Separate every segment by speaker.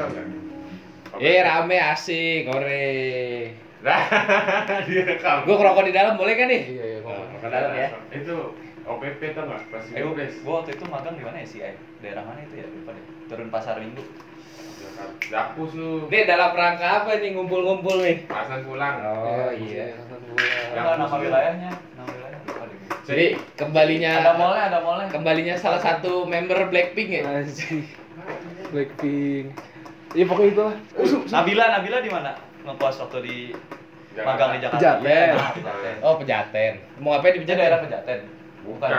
Speaker 1: kan?
Speaker 2: Iya,
Speaker 3: Eh rame asik, ore.
Speaker 1: Nah, Oh, direkam.
Speaker 3: Gue ngerokok di dalam boleh kan nih?
Speaker 2: Iya, iya,
Speaker 3: Nah,
Speaker 2: ngomong.
Speaker 3: Ngerokok di dalam ya.
Speaker 1: Itu OPP tau nggak? Pas
Speaker 4: Eh, gua,
Speaker 1: Inggris.
Speaker 4: gua waktu itu magang di mana ya sih? Daerah mana itu ya? Lupa deh. Turun pasar minggu.
Speaker 1: Dapus lu.
Speaker 3: Ini dalam rangka apa nih ngumpul-ngumpul nih?
Speaker 1: Pasan pulang.
Speaker 3: Oh iya.
Speaker 2: Iya.
Speaker 4: Lupa nama wilayahnya. Nama wilayahnya lupa deh. gua.
Speaker 3: Jadi
Speaker 2: Ya.
Speaker 3: kembalinya
Speaker 4: Ada mallnya, ada mallnya.
Speaker 3: kembalinya salah satu member Blackpink ya.
Speaker 2: Anjing. Blackpink. Iya pokoknya itu lah.
Speaker 4: Nabila, Nabila di mana? Ngepuas waktu di
Speaker 1: Jakarta.
Speaker 4: magang di Jakarta.
Speaker 2: Pejaten.
Speaker 4: Iya, Pejaten.
Speaker 3: Oh Pejaten. Mau ngapain di
Speaker 4: Itu
Speaker 3: Pejaten?
Speaker 4: daerah Pejaten.
Speaker 1: Bukan,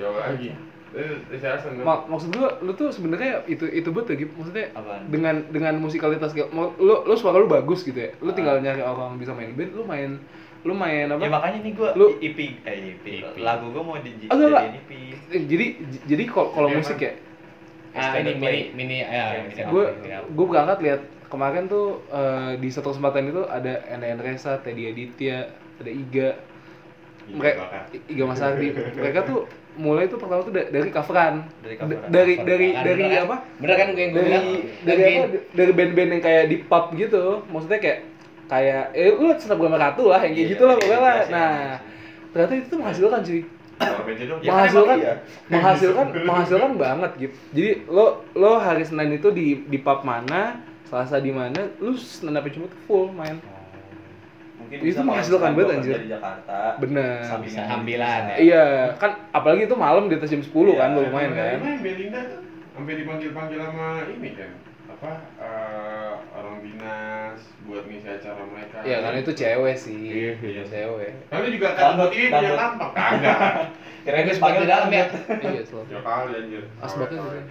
Speaker 1: jauh lagi. Itu itu saya seneng.
Speaker 2: Iya. Mak- maksud gua lu tuh sebenarnya itu itu betul gitu maksudnya
Speaker 4: Apaan?
Speaker 2: dengan dengan musikalitas kayak mau- lu lu suara lu bagus gitu ya lu tinggal nyari orang yang bisa main band lu main lu main apa
Speaker 4: Ya makanya nih gua
Speaker 2: Lu- Ah,
Speaker 4: IP eh IP.
Speaker 1: IP.
Speaker 4: Lagu gua mau di
Speaker 2: Enggak, enggak.
Speaker 4: jadi IP.
Speaker 2: Eh, jadi j- jadi kalau kalau
Speaker 1: Iya,
Speaker 2: musik
Speaker 1: kan?
Speaker 2: ya
Speaker 3: Ah ini mini mini ya.
Speaker 4: Iya,
Speaker 2: gue gue berangkat lihat kemarin tuh eh, di satu kesempatan itu ada NN Resa, Teddy Aditya, ada Iga,
Speaker 1: Iga Iya, bakar.
Speaker 2: mereka Iga Mas Ardi, mereka tuh mulai tuh pertama tuh da- dari coveran,
Speaker 4: Dari coveran.
Speaker 2: D- dari dari dari apa?
Speaker 3: Bener kan gue yang gue
Speaker 2: Dari
Speaker 3: bilang?
Speaker 2: dari
Speaker 3: Dari
Speaker 2: apa? D- Dari band-band yang kayak di pub gitu, maksudnya kayak kayak eh lu snap gue ratu lah yang kayak
Speaker 4: Iya,
Speaker 2: gitu lah
Speaker 4: iya,
Speaker 2: pokoknya lah.
Speaker 4: iya,
Speaker 2: Nah
Speaker 4: iya.
Speaker 2: ternyata itu tuh menghasilkan cuy
Speaker 1: Kalau beda dong.
Speaker 4: Ya, kan
Speaker 2: menghasilkan
Speaker 4: emang iya.
Speaker 2: menghasilkan menghasilkan banget gitu jadi lo lo hari senin itu di di pub mana selasa di mana lu stand up cuma full main
Speaker 4: Mungkin
Speaker 2: Itu
Speaker 4: bisa
Speaker 2: menghasilkan banget,
Speaker 4: kalau
Speaker 2: anjir. Nah,
Speaker 4: Dari Jakarta. gitu
Speaker 2: bener
Speaker 3: Bisa sambilan, ya.
Speaker 2: iya kan apalagi itu malam di atas jam 10 kan
Speaker 4: Iya,
Speaker 2: lo main kan
Speaker 1: Main Belinda tuh sampai dipanggil-panggil sama ini kan apa eh, orang dinas buat ngisi acara mereka.
Speaker 2: iya kan itu cewek sih
Speaker 1: Iya, iya.
Speaker 2: cewek
Speaker 1: Lalu juga kan buat
Speaker 4: Tambah-
Speaker 1: ini punya
Speaker 4: tambah.
Speaker 1: tampak kagak.
Speaker 4: Kirain
Speaker 3: Terus
Speaker 4: dipanggil
Speaker 3: di dalam ya.
Speaker 2: iya selalu
Speaker 1: Ya kali anjir.
Speaker 2: Asbaknya
Speaker 1: Kawet,
Speaker 2: gitu.
Speaker 1: kawet.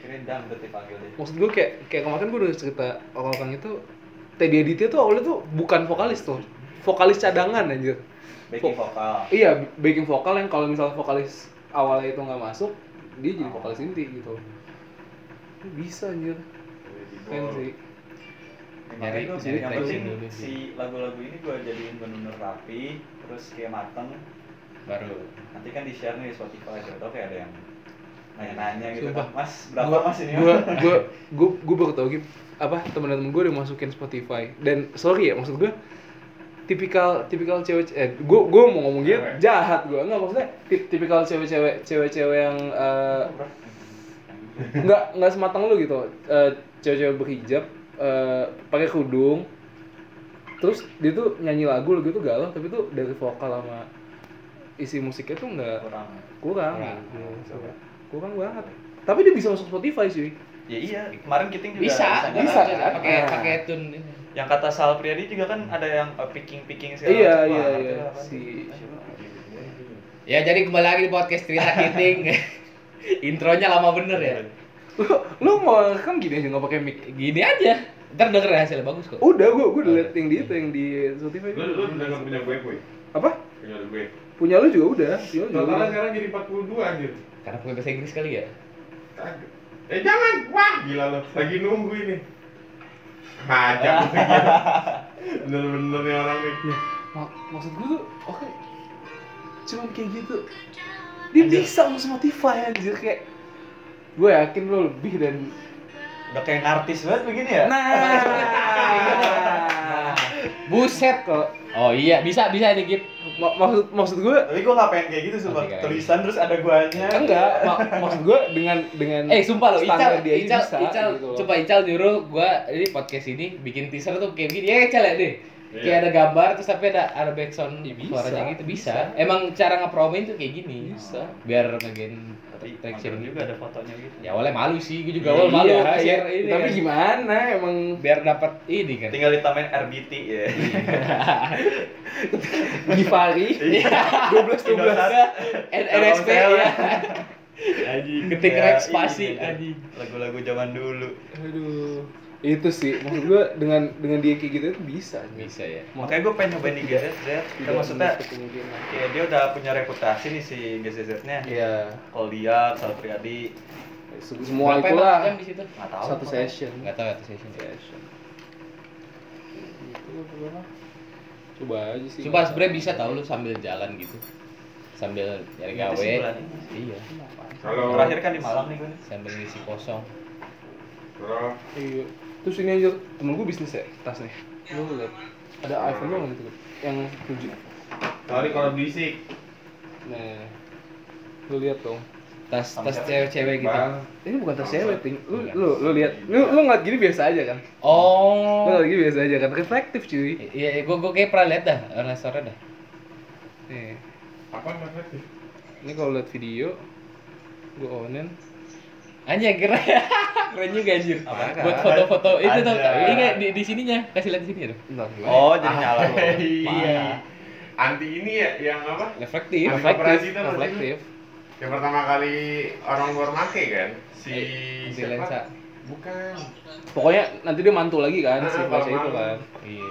Speaker 4: Kirain dangdut dipanggil deh.
Speaker 2: maksud gue kayak kayak kemarin gue udah cerita orang-orang itu Teddy Aditya tuh awalnya tuh bukan vokalis tuh vokalis cadangan anjir
Speaker 4: Backing vokal.
Speaker 2: Iya, backing vokal yang kalau misalnya vokalis awalnya itu nggak masuk, dia
Speaker 1: Oh.
Speaker 2: jadi vokalis inti gitu. Ini Bisa anjir, keren sih.
Speaker 3: Nyari-
Speaker 4: Makanya gua-
Speaker 3: nyari
Speaker 4: yang
Speaker 3: traction
Speaker 4: penting
Speaker 3: dulu sih.
Speaker 4: si lagu-lagu ini gue jadiin bener-bener rapi, terus kayak mateng.
Speaker 3: Baru.
Speaker 4: Nanti kan di share nih di Spotify, siapa tau kayak ada yang nanya-nanya gitu.
Speaker 2: Sumpah.
Speaker 4: kan, Mas, berapa mas ini?
Speaker 2: Gua, gua, gua, gua baru tau gitu apa teman-teman gue udah masukin Spotify dan sorry ya maksud gue tipikal tipikal cewek eh gue gue mau ngomong gitu
Speaker 1: Cewek.
Speaker 2: jahat gue nggak maksudnya tip- tipikal cewek-cewek cewek-cewek yang eh, nggak nggak sematang lu gitu Eh, cewek-cewek berhijab eh, pakai kerudung terus dia tuh nyanyi lagu lagu itu galau tapi tuh dari vokal sama isi musiknya tuh nggak
Speaker 4: Kurang.
Speaker 2: kurang
Speaker 3: Kurang.
Speaker 2: gitu. kurang banget tapi dia bisa masuk Spotify sih
Speaker 4: Ya iya, kemarin kita juga
Speaker 3: Bisa,
Speaker 2: bisa,
Speaker 4: nyaranin.
Speaker 2: kan?
Speaker 3: Pakai
Speaker 2: Ah.
Speaker 3: pakai tune ini.
Speaker 4: Yang kata Sal Priadi juga kan ada yang eh, picking-picking segala
Speaker 2: Iya,
Speaker 4: macam.
Speaker 2: iya,
Speaker 4: Wah,
Speaker 2: iya.
Speaker 4: ngerti lah,
Speaker 2: Si-
Speaker 4: apaan.
Speaker 3: Ya jadi kembali lagi di podcast cerita kiting. Intronya lama bener ya.
Speaker 2: lu lu mau kan gini aja nggak pakai mic
Speaker 3: Gini aja. Ntar denger hasilnya bagus kok.
Speaker 2: udah gua gua udah liat yang di itu yang di Spotify
Speaker 1: Lu lu udah nggak punya gue gue.
Speaker 2: apa
Speaker 1: Punya gue.
Speaker 2: punya lu juga udah punya lu juga
Speaker 1: Totalnya
Speaker 2: udah.
Speaker 1: sekarang jadi 42 anjir.
Speaker 3: Karena pakai bahasa Inggris kali ya.
Speaker 1: Kagak. Eh jangan. Wah, gila lo. Lagi nunggu ini. Ngajak. Bener-bener nih orang nih.
Speaker 2: Ma- maksud gua tuh oke cuman kayak gitu dia bisa masuk Spotify anjir kayak gue yakin lo lebih dan
Speaker 4: Udah kayak artis banget begini ya?
Speaker 2: nah
Speaker 3: Buset
Speaker 2: kalau
Speaker 3: Oh iya, bisa bisa nih Gip.
Speaker 2: ma- maksud maksud gue
Speaker 4: Tapi gue gak pengen kayak gitu, sumpah.
Speaker 3: Oke, kayak
Speaker 4: Tulisan terus ada guanya.
Speaker 2: enggak ma- maksud gue dengan dengan
Speaker 3: Eh sumpah lo,
Speaker 2: standar
Speaker 3: Ical,
Speaker 2: dia aja
Speaker 3: Ical,
Speaker 2: bisa,
Speaker 3: Ical,
Speaker 2: gitu loh.
Speaker 3: coba Ical nyuruh gua ini podcast ini bikin teaser tuh kayak gini. Ya Ical ya deh.
Speaker 1: Iya.
Speaker 3: Kayak ada gambar terus tapi ada ada background
Speaker 2: Ya, bisa,
Speaker 3: suaranya gitu bisa.
Speaker 2: bisa.
Speaker 3: Emang cara ngepromoin tuh kayak gini.
Speaker 2: Bisa.
Speaker 3: Biar ngegen
Speaker 4: Tapi
Speaker 3: traction
Speaker 4: Traction juga ada fotonya gitu.
Speaker 3: Ya awalnya malu sih, gua juga awal malu.
Speaker 2: Iya, iya.
Speaker 3: share ini
Speaker 2: tapi
Speaker 3: kan.
Speaker 2: gimana emang
Speaker 3: Biar dapat ini kan.
Speaker 4: Tinggal ditambahin RBT ya.
Speaker 2: Givari 12 12
Speaker 4: Indosat.
Speaker 3: N- NSP ya. Ketik
Speaker 4: Ya,
Speaker 3: Rex
Speaker 4: ini
Speaker 3: pasti
Speaker 4: dia.
Speaker 3: anjing.
Speaker 4: Lagu-lagu zaman dulu.
Speaker 2: aduh itu sih maksud gue dengan dengan dia kayak gitu itu bisa anjir.
Speaker 3: Bisa ya.
Speaker 4: Makanya gue pengen nyobain di GZZ. Ya,
Speaker 2: Tidak
Speaker 4: maksudnya
Speaker 2: menutup kemungkinan
Speaker 4: ya dia udah punya reputasi nih si GZZ-nya.
Speaker 2: iya
Speaker 4: Kalau dia, Sal Priadi,
Speaker 2: se- semua
Speaker 3: Berapa
Speaker 2: itulah
Speaker 3: emang jam di situ?
Speaker 4: nggak tahu.
Speaker 2: satu session
Speaker 3: Enggak tahu ya, atas session.
Speaker 2: session Gitu, coba. coba aja sih
Speaker 3: Coba sebenernya bisa tau lu sambil jalan gitu Sambil nyari
Speaker 4: Itu
Speaker 3: gawe
Speaker 4: sih bulan ini.
Speaker 3: Iya
Speaker 1: Kalau
Speaker 4: Terakhir kan di Malang nih gue.
Speaker 3: Sambil ngisi kosong
Speaker 1: kalau
Speaker 2: iya terus ini aja temen gue bisnis ya tas nih lu liat ada iPhone doang gitu yang tujuh
Speaker 1: Sorry kalau berisik.
Speaker 2: nah lu lihat dong
Speaker 3: Tas tas cewek-cewek gitu.
Speaker 1: Bang.
Speaker 2: ini bukan tas cewek ting lu lu lu lihat lu lu ngeliat gini biasa aja kan lu
Speaker 3: Oh.
Speaker 2: ngeliat gini biasa aja kan reflektif cuy
Speaker 3: Iya, gua gua kayak pernah lihat dah restoran dah.
Speaker 2: nih
Speaker 1: Apa maksudnya?
Speaker 2: ini kalau lihat video gue onen
Speaker 3: Anjir keren. keren juga anjir.
Speaker 4: Apaan?
Speaker 3: Buat foto-foto itu tuh.
Speaker 4: Anjay.
Speaker 3: Ini nggak di, di sininya, kasih lihat di sini dong.
Speaker 2: Bentar, gimana?
Speaker 4: Oh, jadi nyala lu.
Speaker 1: Iya. Anti ini ya yang apa?
Speaker 3: Reflektif.
Speaker 1: Apa?
Speaker 2: reflektif
Speaker 1: Operasi itu apa sih?
Speaker 2: reflektif
Speaker 1: Yang pertama kali orang luar make kan? Si
Speaker 3: Eh, si
Speaker 1: siapa?
Speaker 3: lensa.
Speaker 1: Bukan.
Speaker 2: Iya, pokoknya nanti dia mantul lagi
Speaker 1: Ah,
Speaker 2: kan si
Speaker 1: kalau
Speaker 2: flash itu
Speaker 1: mantul.
Speaker 2: kan
Speaker 3: Iya.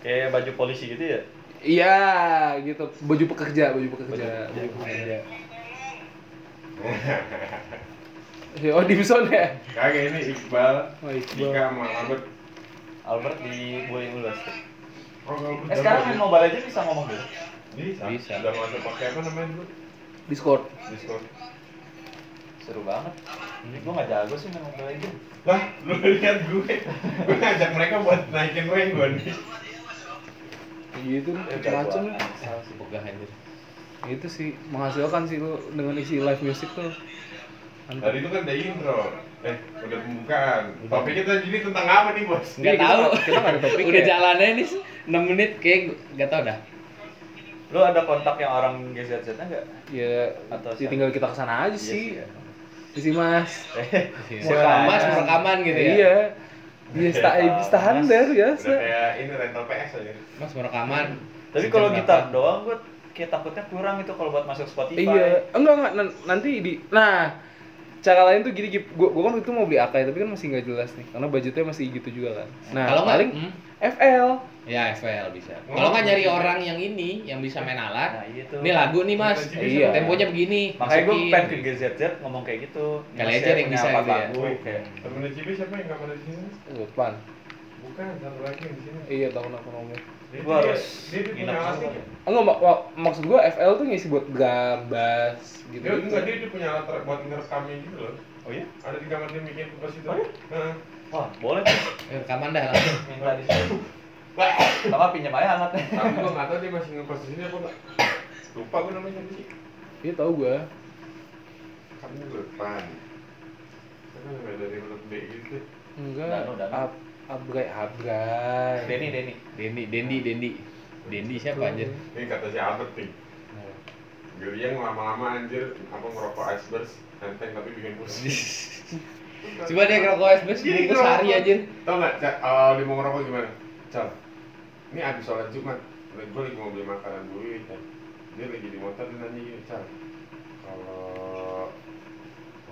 Speaker 4: Kayak baju polisi gitu ya?
Speaker 2: iya gitu baju pekerja baju pekerja
Speaker 4: Baju
Speaker 3: Iya.
Speaker 2: oh Dimson ya
Speaker 1: Kagak ini Iqbal,
Speaker 2: Oh, Iqbal.
Speaker 1: Dika sama Albert.
Speaker 4: Albert di Boeing Ulas.
Speaker 1: Oh, Albert
Speaker 4: Eh sekarang main
Speaker 1: Albert.
Speaker 4: mobile aja bisa ngomong gitu.
Speaker 1: bisa.
Speaker 3: Bisa.
Speaker 1: Udah masuk pakai apa namanya dulu?
Speaker 2: Discord
Speaker 1: Discord.
Speaker 4: Seru banget. Ini gua nggak jago sih main mobile aja.
Speaker 1: Lah, lu lihat gue. Gue ngajak mereka buat naikin gue gue nih.
Speaker 2: gitu
Speaker 4: Ya,
Speaker 2: macam-macam lah.
Speaker 4: Iya,
Speaker 3: Ogah anjir.
Speaker 2: itu sih menghasilkan sih lu dengan isi live music tuh
Speaker 1: Tadi
Speaker 2: Mantap.
Speaker 1: itu kan udah intro. Eh, udah pembukaan. Topik kita jadi tentang apa nih, Bos?
Speaker 3: Nggak
Speaker 2: Iya, kita
Speaker 3: tahu.
Speaker 2: nggak- kita nggak ada topik
Speaker 3: Udah
Speaker 2: ya.
Speaker 3: jalannya ini 6 menit kayak gua- nggak tahu dah.
Speaker 4: Lu ada kontak yang orang GZZ-nya nggak?
Speaker 2: ya
Speaker 4: Atau
Speaker 2: ya tinggal kita kesana aja
Speaker 4: Iya
Speaker 2: sih
Speaker 4: ya.
Speaker 2: isi mas
Speaker 3: Mau rekaman, mau rekaman gitu ya.
Speaker 2: iya dia sta
Speaker 4: Mas.
Speaker 2: standar
Speaker 1: Udah
Speaker 2: biasa
Speaker 4: ya.
Speaker 1: kayak ini rental PS aja.
Speaker 3: Mas mau rekaman.
Speaker 4: Tapi
Speaker 3: Sejam
Speaker 4: kalau
Speaker 3: berapa?
Speaker 4: gitar doang gua kayak takutnya kurang itu kalau buat masuk Spotify.
Speaker 2: iya enggak enggak nan- nanti di nah cara lain tuh gini Gip. gua, gua kan waktu itu mau beli AK tapi kan masih nggak jelas nih karena budgetnya masih gitu juga kan nah
Speaker 3: Kalau nggak,
Speaker 2: paling
Speaker 3: hmm.
Speaker 2: FL
Speaker 3: Ya FL bisa.
Speaker 2: Oh.
Speaker 3: Kalau nggak nyari orang yang ini, yang bisa main alat.
Speaker 4: Nah, iya tuh.
Speaker 3: Ini lagu nih mas,
Speaker 2: Iya.
Speaker 3: temponya begini.
Speaker 4: Makanya gue
Speaker 3: masukin.
Speaker 4: pengen ke GZZ ngomong kayak gitu.
Speaker 3: Kali
Speaker 4: Mas,
Speaker 3: aja
Speaker 4: saya
Speaker 3: ada yang
Speaker 4: punya
Speaker 3: bisa
Speaker 4: empat
Speaker 3: gitu ya.
Speaker 4: lagu,
Speaker 1: Woi,
Speaker 4: kayak.
Speaker 1: temennya Cibi siapa yang nggak ada di sini?
Speaker 2: depan
Speaker 1: Bukan, satu lagi yang di sini.
Speaker 2: Oh, iya tahun aku ngomong
Speaker 1: Dia
Speaker 4: Gua
Speaker 1: tuh-
Speaker 4: harus
Speaker 1: dia tuh punya
Speaker 4: nginep
Speaker 1: alat
Speaker 4: semua.
Speaker 1: nih.
Speaker 2: enggak mak- mak- maksud gua FL tuh ngisi buat gambar gitu
Speaker 3: Iya,
Speaker 1: Dia enggak dia tuh punya alat ter- buat ngerekamnya gitu loh.
Speaker 4: Oh iya?
Speaker 1: Ada di kamar dia bikin Nah, pas itu.
Speaker 4: Wah, boleh tuh.
Speaker 3: Eh, Rekaman dah langsung.
Speaker 4: Minta di sini. Sama pinjam aja ya? alatnya.
Speaker 1: Tapi gua nggak tahu dia masih ngekos di sini apa enggak. Lupa gua namanya siapa sih?
Speaker 2: iya tahu gua
Speaker 1: Kamu depan. Karena nggak ada yang lebih gitu.
Speaker 2: enggak
Speaker 4: Danu, Danu.
Speaker 2: ab abrai abrai
Speaker 4: Denny, Denny.
Speaker 3: Dendi, Dendi, Dendi. Dendi siapa anjir?
Speaker 2: Iya.
Speaker 1: Ini kata si Albert nih.
Speaker 2: Nah.
Speaker 1: Geriang lama-lama anjir apa ngerokok iceberg enteng tapi bikin pusing.
Speaker 3: Coba deh ngerokok es bes,
Speaker 1: Gini,
Speaker 2: Iya,
Speaker 3: bungkus sehari
Speaker 1: ngerokok.
Speaker 3: anjir.
Speaker 1: Tau nggak, Cak, awal dia mau ngerokok gimana? Cal, ini abis sholat Jumat, gue lagi mau beli makanan duit. Dia lagi di motor, dia nanya gini, Cal, kalau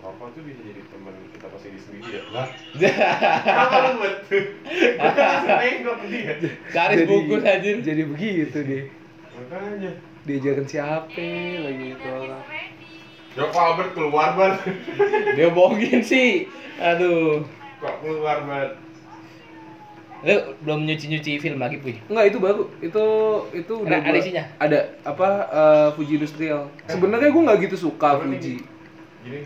Speaker 1: ngerokok tuh bisa jadi teman kita pas lagi sendiri ya? Lah, apa lu buat? Gue langsung nengok ke dia.
Speaker 3: Sehari
Speaker 2: Jadi-
Speaker 3: bungkus anjir.
Speaker 2: jadi begitu deh
Speaker 1: Makanya,
Speaker 2: diajarin siapa lagi itu orang
Speaker 1: Joko Albert keluar banget.
Speaker 3: Dia bohongin sih. Aduh.
Speaker 1: Kok keluar banget?
Speaker 3: Lu belum nyuci-nyuci film lagi, Puy.
Speaker 2: Enggak itu baru. Itu itu udah
Speaker 3: Ada- ada
Speaker 2: gua-
Speaker 3: isinya?
Speaker 2: Ada apa eh, Fuji Industrial. Sebenarnya gue nggak gitu suka
Speaker 1: Apa
Speaker 2: Fuji.
Speaker 1: nih? Gini,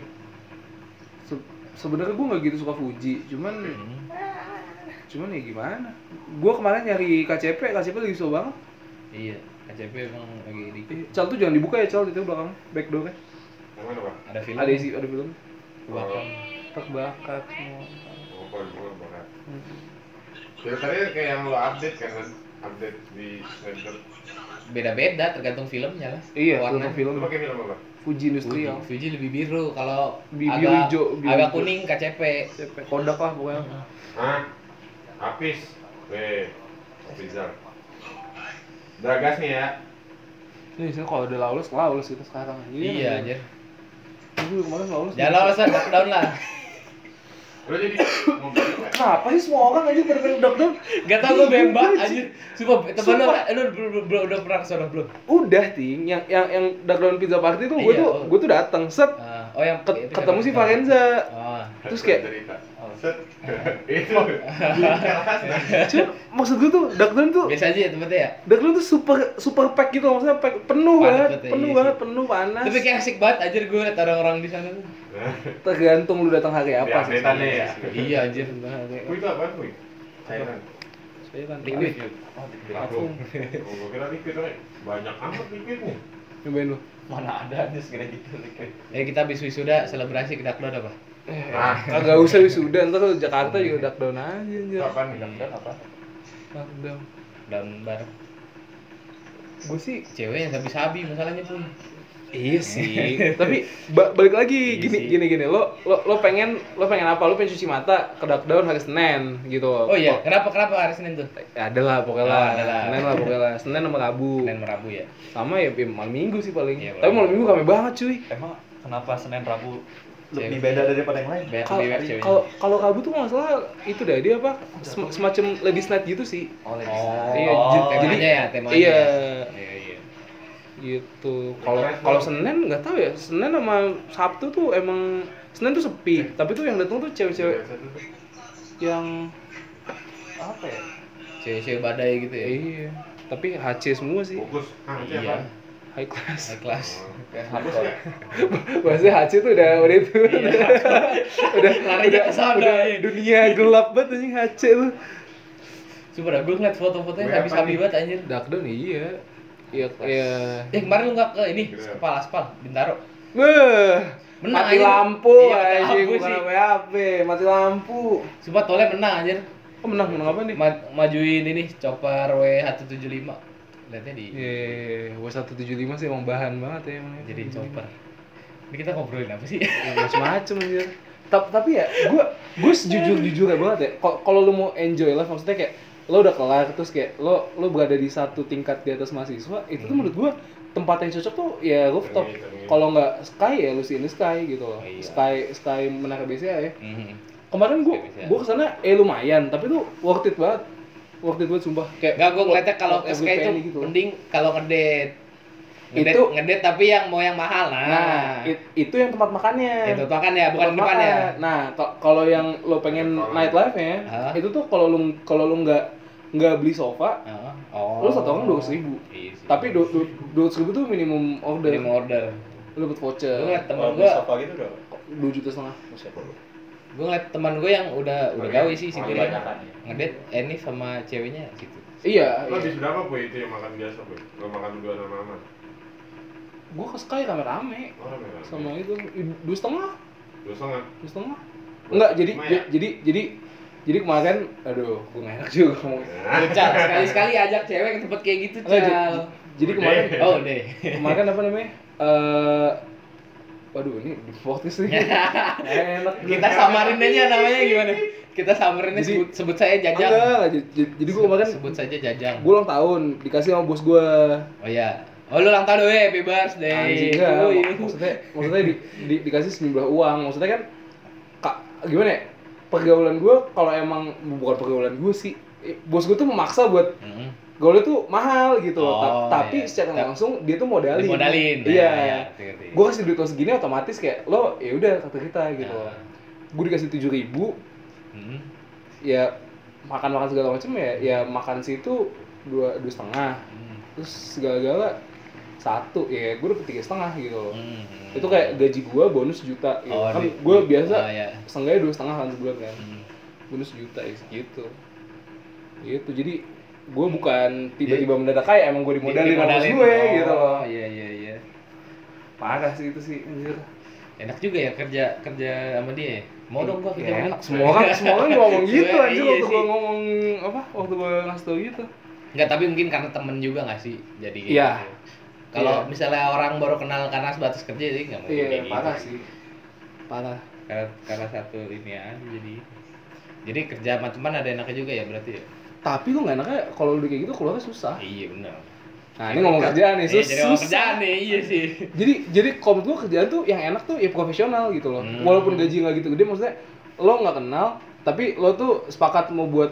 Speaker 2: Se- Sebenarnya gue nggak gitu suka Fuji. Cuman
Speaker 3: Hmm.
Speaker 2: cuman ya gimana? Gue kemarin nyari KCP, KCP lagi susah banget.
Speaker 3: Iya, KCP emang lagi dikit.
Speaker 2: Eh, Cal tuh jangan dibuka ya Cal itu belakang backdoornya.
Speaker 1: yang mana pak?
Speaker 3: Ada film.
Speaker 2: Ada isi ada film.
Speaker 3: Bakal.
Speaker 2: Terbakat semua.
Speaker 1: Joko keluar banget. Ceritanya kayak yang lo update kan, Lan? update di Snapchat.
Speaker 3: Beda-beda tergantung filmnya lah.
Speaker 2: Iya,
Speaker 3: Warna.
Speaker 2: film film
Speaker 1: Lo pakai film apa?
Speaker 2: Fuji
Speaker 3: Fuji,
Speaker 2: Industrial.
Speaker 3: Fuji lebih biru kalau
Speaker 2: Bi-
Speaker 3: agak
Speaker 2: biru Iya. hijau, biru
Speaker 3: agak
Speaker 2: hijau.
Speaker 3: kuning KCP.
Speaker 2: KCP Kodak lah
Speaker 3: Iya.
Speaker 2: pokoknya.
Speaker 1: Hah? Apis. Weh, Apizar. Dragas nih ya.
Speaker 2: Ini sini Iya, kalau udah lawless, lawless itu sekarang.
Speaker 3: Iya anjir.
Speaker 2: Gue kemarin lawless.
Speaker 3: Jangan lah, Ustaz, lockdown lah.
Speaker 1: Lo jadi mau beli nggak?
Speaker 2: Kenapa sih semua orang aja bener-bener dok
Speaker 3: Gak tau gue bembak anjir. Sumpah, temen lu, Eh, lu belum belum- udah pernah kesana belum?
Speaker 2: udah ting yang yang yang dark down pizza party tuh gue
Speaker 3: Iya,
Speaker 2: tuh
Speaker 3: oh.
Speaker 2: gue tuh datang set
Speaker 3: Ah, Oh yang
Speaker 2: Ket- ketemu si Valenza
Speaker 3: Oh.
Speaker 2: terus kayak
Speaker 1: cerita.
Speaker 4: Oh.
Speaker 1: Set. Itu di kelas dah.
Speaker 2: cuy maksud gue tuh Declan tuh
Speaker 3: Biasa aja ya tempatnya ya.
Speaker 2: Declan tuh super super pack gitu maksudnya pack penuh
Speaker 3: Padat
Speaker 2: banget
Speaker 3: banget ya,
Speaker 2: penuh
Speaker 3: iya
Speaker 2: banget
Speaker 3: sih.
Speaker 2: penuh panas
Speaker 3: Tapi kayak asik banget anjir gue liat orang-orang di sana tuh.
Speaker 1: Nah,
Speaker 2: tergantung lu datang hari
Speaker 1: Ya,
Speaker 2: apa sih
Speaker 1: update-annya
Speaker 2: sebenarnya
Speaker 1: ya.
Speaker 2: sih.
Speaker 3: iya anjir.
Speaker 2: Datang hari apa.
Speaker 1: Kui itu apaan kui? Cairan.
Speaker 2: Saya kan
Speaker 3: Liquid.
Speaker 4: Oh, di-
Speaker 1: Aku. Gue kira liquid aja. Banyak amat liquidnya.
Speaker 2: nyobain lu
Speaker 4: mana ada aja segera gitu liquid.
Speaker 3: Ya kita habis wisuda selebrasi ke Dakdon apa?
Speaker 1: Nah,
Speaker 2: kagak usah wisuda ntar lu Jakarta juga Duckdown aja anjir
Speaker 1: kapan nih?
Speaker 4: Mudah-mudahan apa?
Speaker 2: Duckdown
Speaker 3: Daun bareng.
Speaker 2: gue sih
Speaker 3: Cewek yang sabi-sabi masalahnya pun.
Speaker 2: Iya sih. Tapi ba- balik lagi
Speaker 3: Iya
Speaker 2: gini
Speaker 3: sih.
Speaker 2: gini gini lo lo lo pengen lo pengen apa? Lo pengen cuci mata ke daun hari Senin gitu. loh.
Speaker 3: Oh iya, kenapa kenapa hari Senin tuh?
Speaker 2: Ya, ada lah pokoknya
Speaker 3: Ah,
Speaker 2: lah.
Speaker 3: ada lah.
Speaker 2: Senin lah pokoknya lah. Senin sama Rabu.
Speaker 3: Senin Merabu ya.
Speaker 2: Sama ya, ya malam Minggu sih paling.
Speaker 3: Iya,
Speaker 2: Tapi malam
Speaker 3: malam
Speaker 2: Minggu kami banget cuy.
Speaker 4: Emang kenapa Senin Rabu
Speaker 3: Cewek.
Speaker 4: lebih beda daripada yang lain?
Speaker 3: Banyak
Speaker 2: Kalau-
Speaker 3: lebih banyak ceweknya.
Speaker 2: Kalau kalau Rabu tuh nggak salah itu dah dia apa? Sem- semacam ladies night gitu sih.
Speaker 4: Oh, lebih
Speaker 3: Oh,
Speaker 2: Iya,
Speaker 3: jadi
Speaker 2: jadi-
Speaker 3: temanya ya, temanya.
Speaker 2: iya.
Speaker 3: ya. Iya, iya.
Speaker 2: Gitu. Kalau kalau Senin nggak tahu ya. Senin sama Sabtu tuh emang Senin tuh
Speaker 3: Iya.
Speaker 2: sepi. Tapi tuh yang datang tuh cewek-cewek
Speaker 1: Biasa tuh.
Speaker 2: yang
Speaker 4: apa ya?
Speaker 3: Cewek-cewek badai gitu ya.
Speaker 2: Iya. Tapi HC semua sih.
Speaker 1: Fokus. Ah, itu
Speaker 3: Iya.
Speaker 1: apaan?
Speaker 2: High class.
Speaker 3: Naik kelas.
Speaker 1: Fokus ya?
Speaker 2: Maksudnya HC tuh udah udah itu. udah
Speaker 3: Larinya
Speaker 2: udah-
Speaker 3: Iya. ke sana,
Speaker 2: udah
Speaker 3: iya.
Speaker 2: dunia gelap banget anjing HC tuh.
Speaker 3: Coba dah gue ngeliat foto-fotonya
Speaker 1: Gue apa
Speaker 3: sabi-sabi
Speaker 1: nih?
Speaker 3: banget anjir.
Speaker 2: Darkdown iya. Iya iya.
Speaker 3: Eh kemarin lu nggak ke ini
Speaker 1: Gila.
Speaker 3: Sepal Aspal Bintaro.
Speaker 2: Beuh.
Speaker 3: Menang,
Speaker 2: mati
Speaker 3: anjing.
Speaker 2: lampu
Speaker 3: Iya, mati
Speaker 2: anjing
Speaker 3: lampu
Speaker 2: bukan
Speaker 3: sih.
Speaker 2: apa-apa, mati lampu.
Speaker 3: Sumpah tole menang anjir.
Speaker 2: Oh menang menang apa nih?
Speaker 3: Ma- majuin ini Chopper W175. Lihatnya di
Speaker 2: Iya, W175 sih emang bahan banget ya emang.
Speaker 3: jadi Chopper. Ini kita ngobrolin apa sih?
Speaker 2: macam-macam Ya, anjir. Tapi tapi ya gua gua sejujur-jujurnya banget ya. Kalau kalau lu mau enjoy life maksudnya kayak lo udah kelar terus kayak lo lo berada di satu tingkat di atas mahasiswa
Speaker 3: Hmm.
Speaker 2: itu tuh menurut gua tempat yang cocok tuh ya rooftop.
Speaker 1: Termin, termin.
Speaker 2: Kalau nggak sky ya lu sini sky gitu
Speaker 3: Oh,
Speaker 2: loh.
Speaker 3: iya.
Speaker 2: Sky sky menara BCA ya.
Speaker 3: Mhm.
Speaker 2: Kemarin gua
Speaker 3: Sky BCA.
Speaker 2: gua kesana eh lumayan tapi tuh worth it banget. Worth it banget sumpah kayak
Speaker 3: Enggak gue ngeliatnya kalau ke
Speaker 2: worth
Speaker 3: Sky
Speaker 2: every
Speaker 3: itu
Speaker 2: penny gitu loh.
Speaker 3: mending kalau ngedate. Ngedate,
Speaker 2: Itu-
Speaker 3: ngedate tapi yang mau yang mahal nah.
Speaker 2: Nah, it- itu yang tempat makannya.
Speaker 3: itu tuh kan ya bukan
Speaker 2: Tempat
Speaker 3: depan ya.
Speaker 2: makan. Nah, ko- kalau yang lo pengen
Speaker 1: Kalau-
Speaker 2: nightlife ya,
Speaker 3: Hah?
Speaker 2: itu tuh kalau lo kalau lo nggak nggak beli sofa,
Speaker 3: Heeh. Oh.
Speaker 2: lo satu orang dua ribu.
Speaker 3: Iya sih.
Speaker 2: Tapi Iya. dua ratus ribu tuh minimum order.
Speaker 3: Jadi mau order.
Speaker 2: Lo dapat voucher
Speaker 3: Gue ngeliat teman
Speaker 4: Kalau beli
Speaker 3: gue,
Speaker 4: sofa gitu udah
Speaker 2: dua juta setengah.
Speaker 3: gue ngeliat teman gue yang udah udah
Speaker 1: Oke.
Speaker 3: gawe sih
Speaker 1: Oh,
Speaker 3: situ
Speaker 1: iya.
Speaker 3: dia.
Speaker 4: ya?
Speaker 3: Ngedate Enif sama ceweknya gitu.
Speaker 2: Iya.
Speaker 1: Lo Kan habis berapa Bu itu yang makan biasa Bu? Lo makan berdua sama Mama?
Speaker 2: Gue ke Sky rame-rame
Speaker 1: Orang merah
Speaker 2: sama itu dua
Speaker 1: ya,
Speaker 2: setengah,
Speaker 1: Dua setengah
Speaker 2: dua setengah. Enggak, jadi
Speaker 1: Lumayan.
Speaker 2: j- jadi jadi jadi kemarin, aduh, gue nggak enak juga ngomong.
Speaker 3: Lu, Cal, sekali-sekali ajak cewek ke tempat kayak gitu,
Speaker 2: Enggak, j-
Speaker 3: Cal.
Speaker 2: jadi kemarin
Speaker 3: Oh, deh.
Speaker 2: kemarin apa namanya? Eh waduh ini di podcast nih. Enak
Speaker 3: Kita samarin aja namanya gimana? Kita samarin aja
Speaker 2: Jadi-
Speaker 3: sebut, sebut saya
Speaker 2: Enggak,
Speaker 3: Jajang.
Speaker 2: enggak, jadi- jadi, jadi gue kemarin
Speaker 3: sebut saja Jajang.
Speaker 2: gue ulang tahun dikasih sama bos gue
Speaker 3: Oh iya. Oh lu ulang tahun weh, happy birthday.
Speaker 2: anjing enggak,
Speaker 3: Oh, iya.
Speaker 2: mak- maksudnya maksudnya di, di- dikasih sejumlah uang maksudnya kan kak gimana ya pergaulan gue kalau emang bukan pergaulan gue sih eh, bos gue tuh memaksa buat
Speaker 3: Mm.
Speaker 2: gaulnya tuh mahal gitu loh. Ta-
Speaker 3: Oh,
Speaker 2: tapi
Speaker 3: iya.
Speaker 2: secara
Speaker 3: Ta-
Speaker 2: langsung dia tuh modalin
Speaker 3: Dimodalin. Nah, ya,
Speaker 2: iya gue
Speaker 3: Gua
Speaker 2: kasih duit lo segini otomatis kayak lo ya udah kata kita gitu
Speaker 3: Nah.
Speaker 2: gue dikasih tujuh ribu ya makan makan segala macam ya ya makan situ dua dua setengah terus segala-gala satu ya gue dapet tiga setengah gitu loh itu kayak gaji gue bonus juta gitu. kan gue biasa
Speaker 3: Oh, iya.
Speaker 2: setengahnya dua setengah kan sebulan kan
Speaker 3: Mm.
Speaker 2: bonus juta ya gitu gitu jadi gue bukan tiba-tiba mendadak kaya emang gue dimodalin sama bos
Speaker 3: Dimodalin.
Speaker 2: gue
Speaker 3: Oh,
Speaker 2: gitu loh
Speaker 3: Iya iya iya.
Speaker 2: parah sih itu sih anjir
Speaker 3: Enak juga ya kerja kerja sama dia. ya? Mau dong gua kerja. sama
Speaker 2: Ya, enak
Speaker 3: dia.
Speaker 2: semua orang semua orang ngomong gitu
Speaker 3: Iya
Speaker 2: anjir waktu
Speaker 3: sih.
Speaker 2: gue ngomong apa waktu gue ngasih tau gitu
Speaker 3: Enggak, tapi mungkin karena temen juga nggak sih? Jadi kayak
Speaker 2: Iya.
Speaker 3: gitu. Kalau
Speaker 2: Iya.
Speaker 3: misalnya orang baru kenal karena sebatas kerja jadi nggak mungkin kayak
Speaker 2: iya
Speaker 3: gitu.
Speaker 2: parah sih parah
Speaker 3: Karena, karena satu ini aja jadi jadi kerja sama teman ada enaknya juga ya berarti ya?
Speaker 2: tapi lu nggak enaknya kalau lu udah kayak gitu keluarnya susah
Speaker 3: Iya benar.
Speaker 2: nah ini ngomong kerjaan nih
Speaker 3: Iya,
Speaker 2: sus
Speaker 3: jadi ngomong
Speaker 2: susah
Speaker 3: kerjaan nih, iya sih.
Speaker 2: jadi jadi kalau menurut gua kerjaan tuh yang enak tuh ya profesional gitu loh
Speaker 3: Hmm.
Speaker 2: walaupun gaji nggak gitu gede maksudnya lo nggak kenal tapi lo tuh sepakat mau buat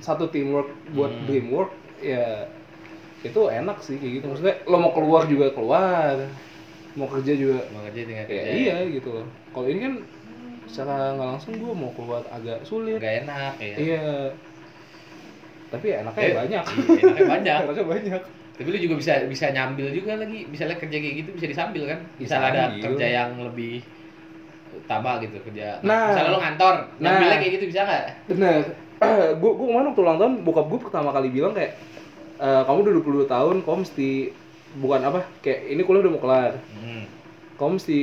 Speaker 2: satu teamwork buat
Speaker 3: Hmm.
Speaker 2: dream work ya itu enak sih kayak gitu maksudnya lo mau keluar juga keluar mau kerja juga
Speaker 3: mau kerja tinggal
Speaker 2: ya,
Speaker 3: kerja
Speaker 2: iya gitu loh kalau ini kan secara nggak langsung gue mau keluar agak sulit
Speaker 3: nggak enak ya
Speaker 2: iya tapi ya enaknya
Speaker 3: Eh,
Speaker 2: ya banyak
Speaker 3: iya, enaknya banyak
Speaker 2: enaknya banyak
Speaker 3: tapi lu juga bisa bisa nyambil juga lagi misalnya kerja kayak gitu bisa disambil kan
Speaker 2: Bisa
Speaker 3: misalnya ada
Speaker 2: ambil.
Speaker 3: kerja yang lebih utama gitu kerja
Speaker 2: Nah.
Speaker 3: misalnya lu ngantor
Speaker 2: Nah.
Speaker 3: nyambilnya kayak gitu bisa nggak
Speaker 2: bener gue gue kemarin waktu ulang tahun bokap gue pertama kali bilang kayak "Eh, kamu udah 20 tahun kamu mesti bukan apa kayak ini kuliah udah mau kelar
Speaker 3: hmm.
Speaker 2: kamu mesti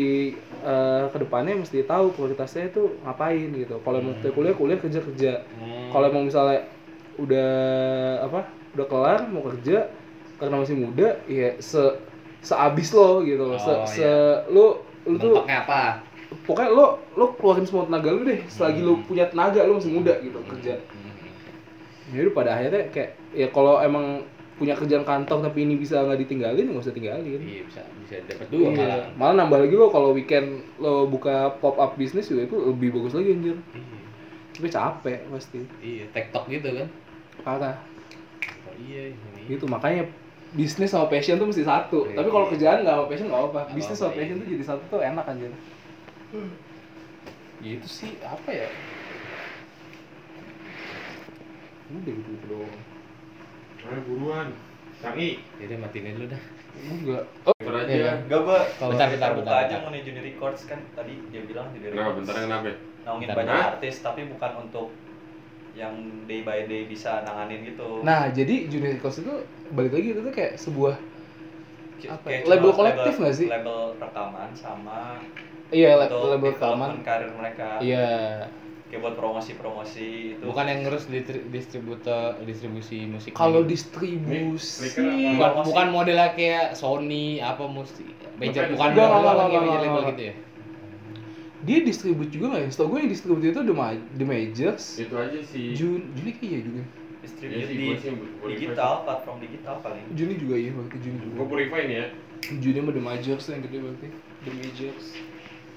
Speaker 2: eh, kedepannya mesti tahu prioritasnya itu ngapain gitu kalau emang
Speaker 3: Hmm.
Speaker 2: kuliah kuliah kerja kerja
Speaker 3: Hmm.
Speaker 2: kalau emang misalnya udah apa udah kelar mau kerja karena masih muda ya se seabis lo gitu loh se,
Speaker 3: Oh,
Speaker 2: se
Speaker 3: iya.
Speaker 2: lo lu tuh
Speaker 3: Mentoknya apa
Speaker 2: pokoknya lo lo keluarin semua tenaga lu deh selagi lo punya tenaga lo masih muda gitu kerja
Speaker 3: Hmm.
Speaker 2: ya udah pada akhirnya kayak ya kalau emang punya kerjaan kantor tapi ini bisa nggak ditinggalin ya nggak usah tinggalin
Speaker 3: iya bisa bisa dapat dua
Speaker 2: Iya.
Speaker 3: malah
Speaker 2: malah nambah lagi lo kalau weekend lo buka pop up bisnis juga itu lebih bagus lagi anjir
Speaker 3: Iya.
Speaker 2: tapi capek pasti
Speaker 3: iya tiktok gitu kan
Speaker 2: parah
Speaker 3: Oh, iya ini
Speaker 2: gitu makanya bisnis sama passion tuh mesti satu
Speaker 3: Iya.
Speaker 2: tapi kalau kerjaan nggak sama passion nggak apa-apa
Speaker 3: Nggak
Speaker 2: bisnis
Speaker 3: apa-apa,
Speaker 2: sama passion
Speaker 3: iya.
Speaker 2: tuh jadi satu tuh enak anjir gitu sih apa ya udah gitu gitu doang
Speaker 1: Ayo buruan. Sangi.
Speaker 3: jadi matiin dulu dah
Speaker 2: enggak
Speaker 1: Bentar aja.
Speaker 3: Iya.
Speaker 4: Enggak, gua kalau
Speaker 3: Bentar,
Speaker 4: kita
Speaker 3: bentar,
Speaker 4: buka
Speaker 3: bentar,
Speaker 4: aja
Speaker 3: bentar.
Speaker 4: mau nih Juni Records kan tadi dia bilang Juni
Speaker 1: Kenapa
Speaker 4: Records.
Speaker 1: bentar kenapa? ya?
Speaker 4: Naungin
Speaker 3: Bentar,
Speaker 4: banyak
Speaker 1: bentar.
Speaker 4: artis tapi bukan untuk yang day by day bisa nanganin gitu.
Speaker 2: nah jadi junior records itu balik lagi itu tuh kayak sebuah
Speaker 4: Ki-
Speaker 2: apa
Speaker 4: kayak
Speaker 2: ya? Label
Speaker 4: cuma
Speaker 2: kolektif
Speaker 4: label-
Speaker 2: nggak sih?
Speaker 4: Label rekaman sama
Speaker 2: iya lab-
Speaker 4: untuk
Speaker 2: label
Speaker 4: development
Speaker 2: rekaman
Speaker 4: karir mereka.
Speaker 2: iya
Speaker 4: Kayak buat promosi-promosi itu.
Speaker 3: bukan yang ngurus ditri- distributor distribusi musik
Speaker 2: kalau
Speaker 3: gitu.
Speaker 2: distribusi
Speaker 3: bukan bukan modelnya kayak Sony apa musik major
Speaker 1: Bukan.
Speaker 3: bukan
Speaker 2: Enggak,
Speaker 3: bukan
Speaker 2: enggak,
Speaker 3: bukan
Speaker 2: enggak,
Speaker 3: kayak major
Speaker 2: enggak,
Speaker 3: label
Speaker 2: enggak.
Speaker 3: gitu ya
Speaker 2: dia distribut juga nggak ya? Setahu gue yang distribut itu The, Ma- The Majors,
Speaker 1: Itu aja sih.
Speaker 2: Jun, Juni kayaknya juga.
Speaker 1: Ya
Speaker 4: distribute
Speaker 1: sih,
Speaker 4: di
Speaker 1: gua sih yang gua
Speaker 4: digital, platform digital paling.
Speaker 2: Juni juga ya, berarti Juni juga.
Speaker 1: Gue purify nih ya.
Speaker 2: Juni sama The Majors tuh yang gede berarti. The Majors.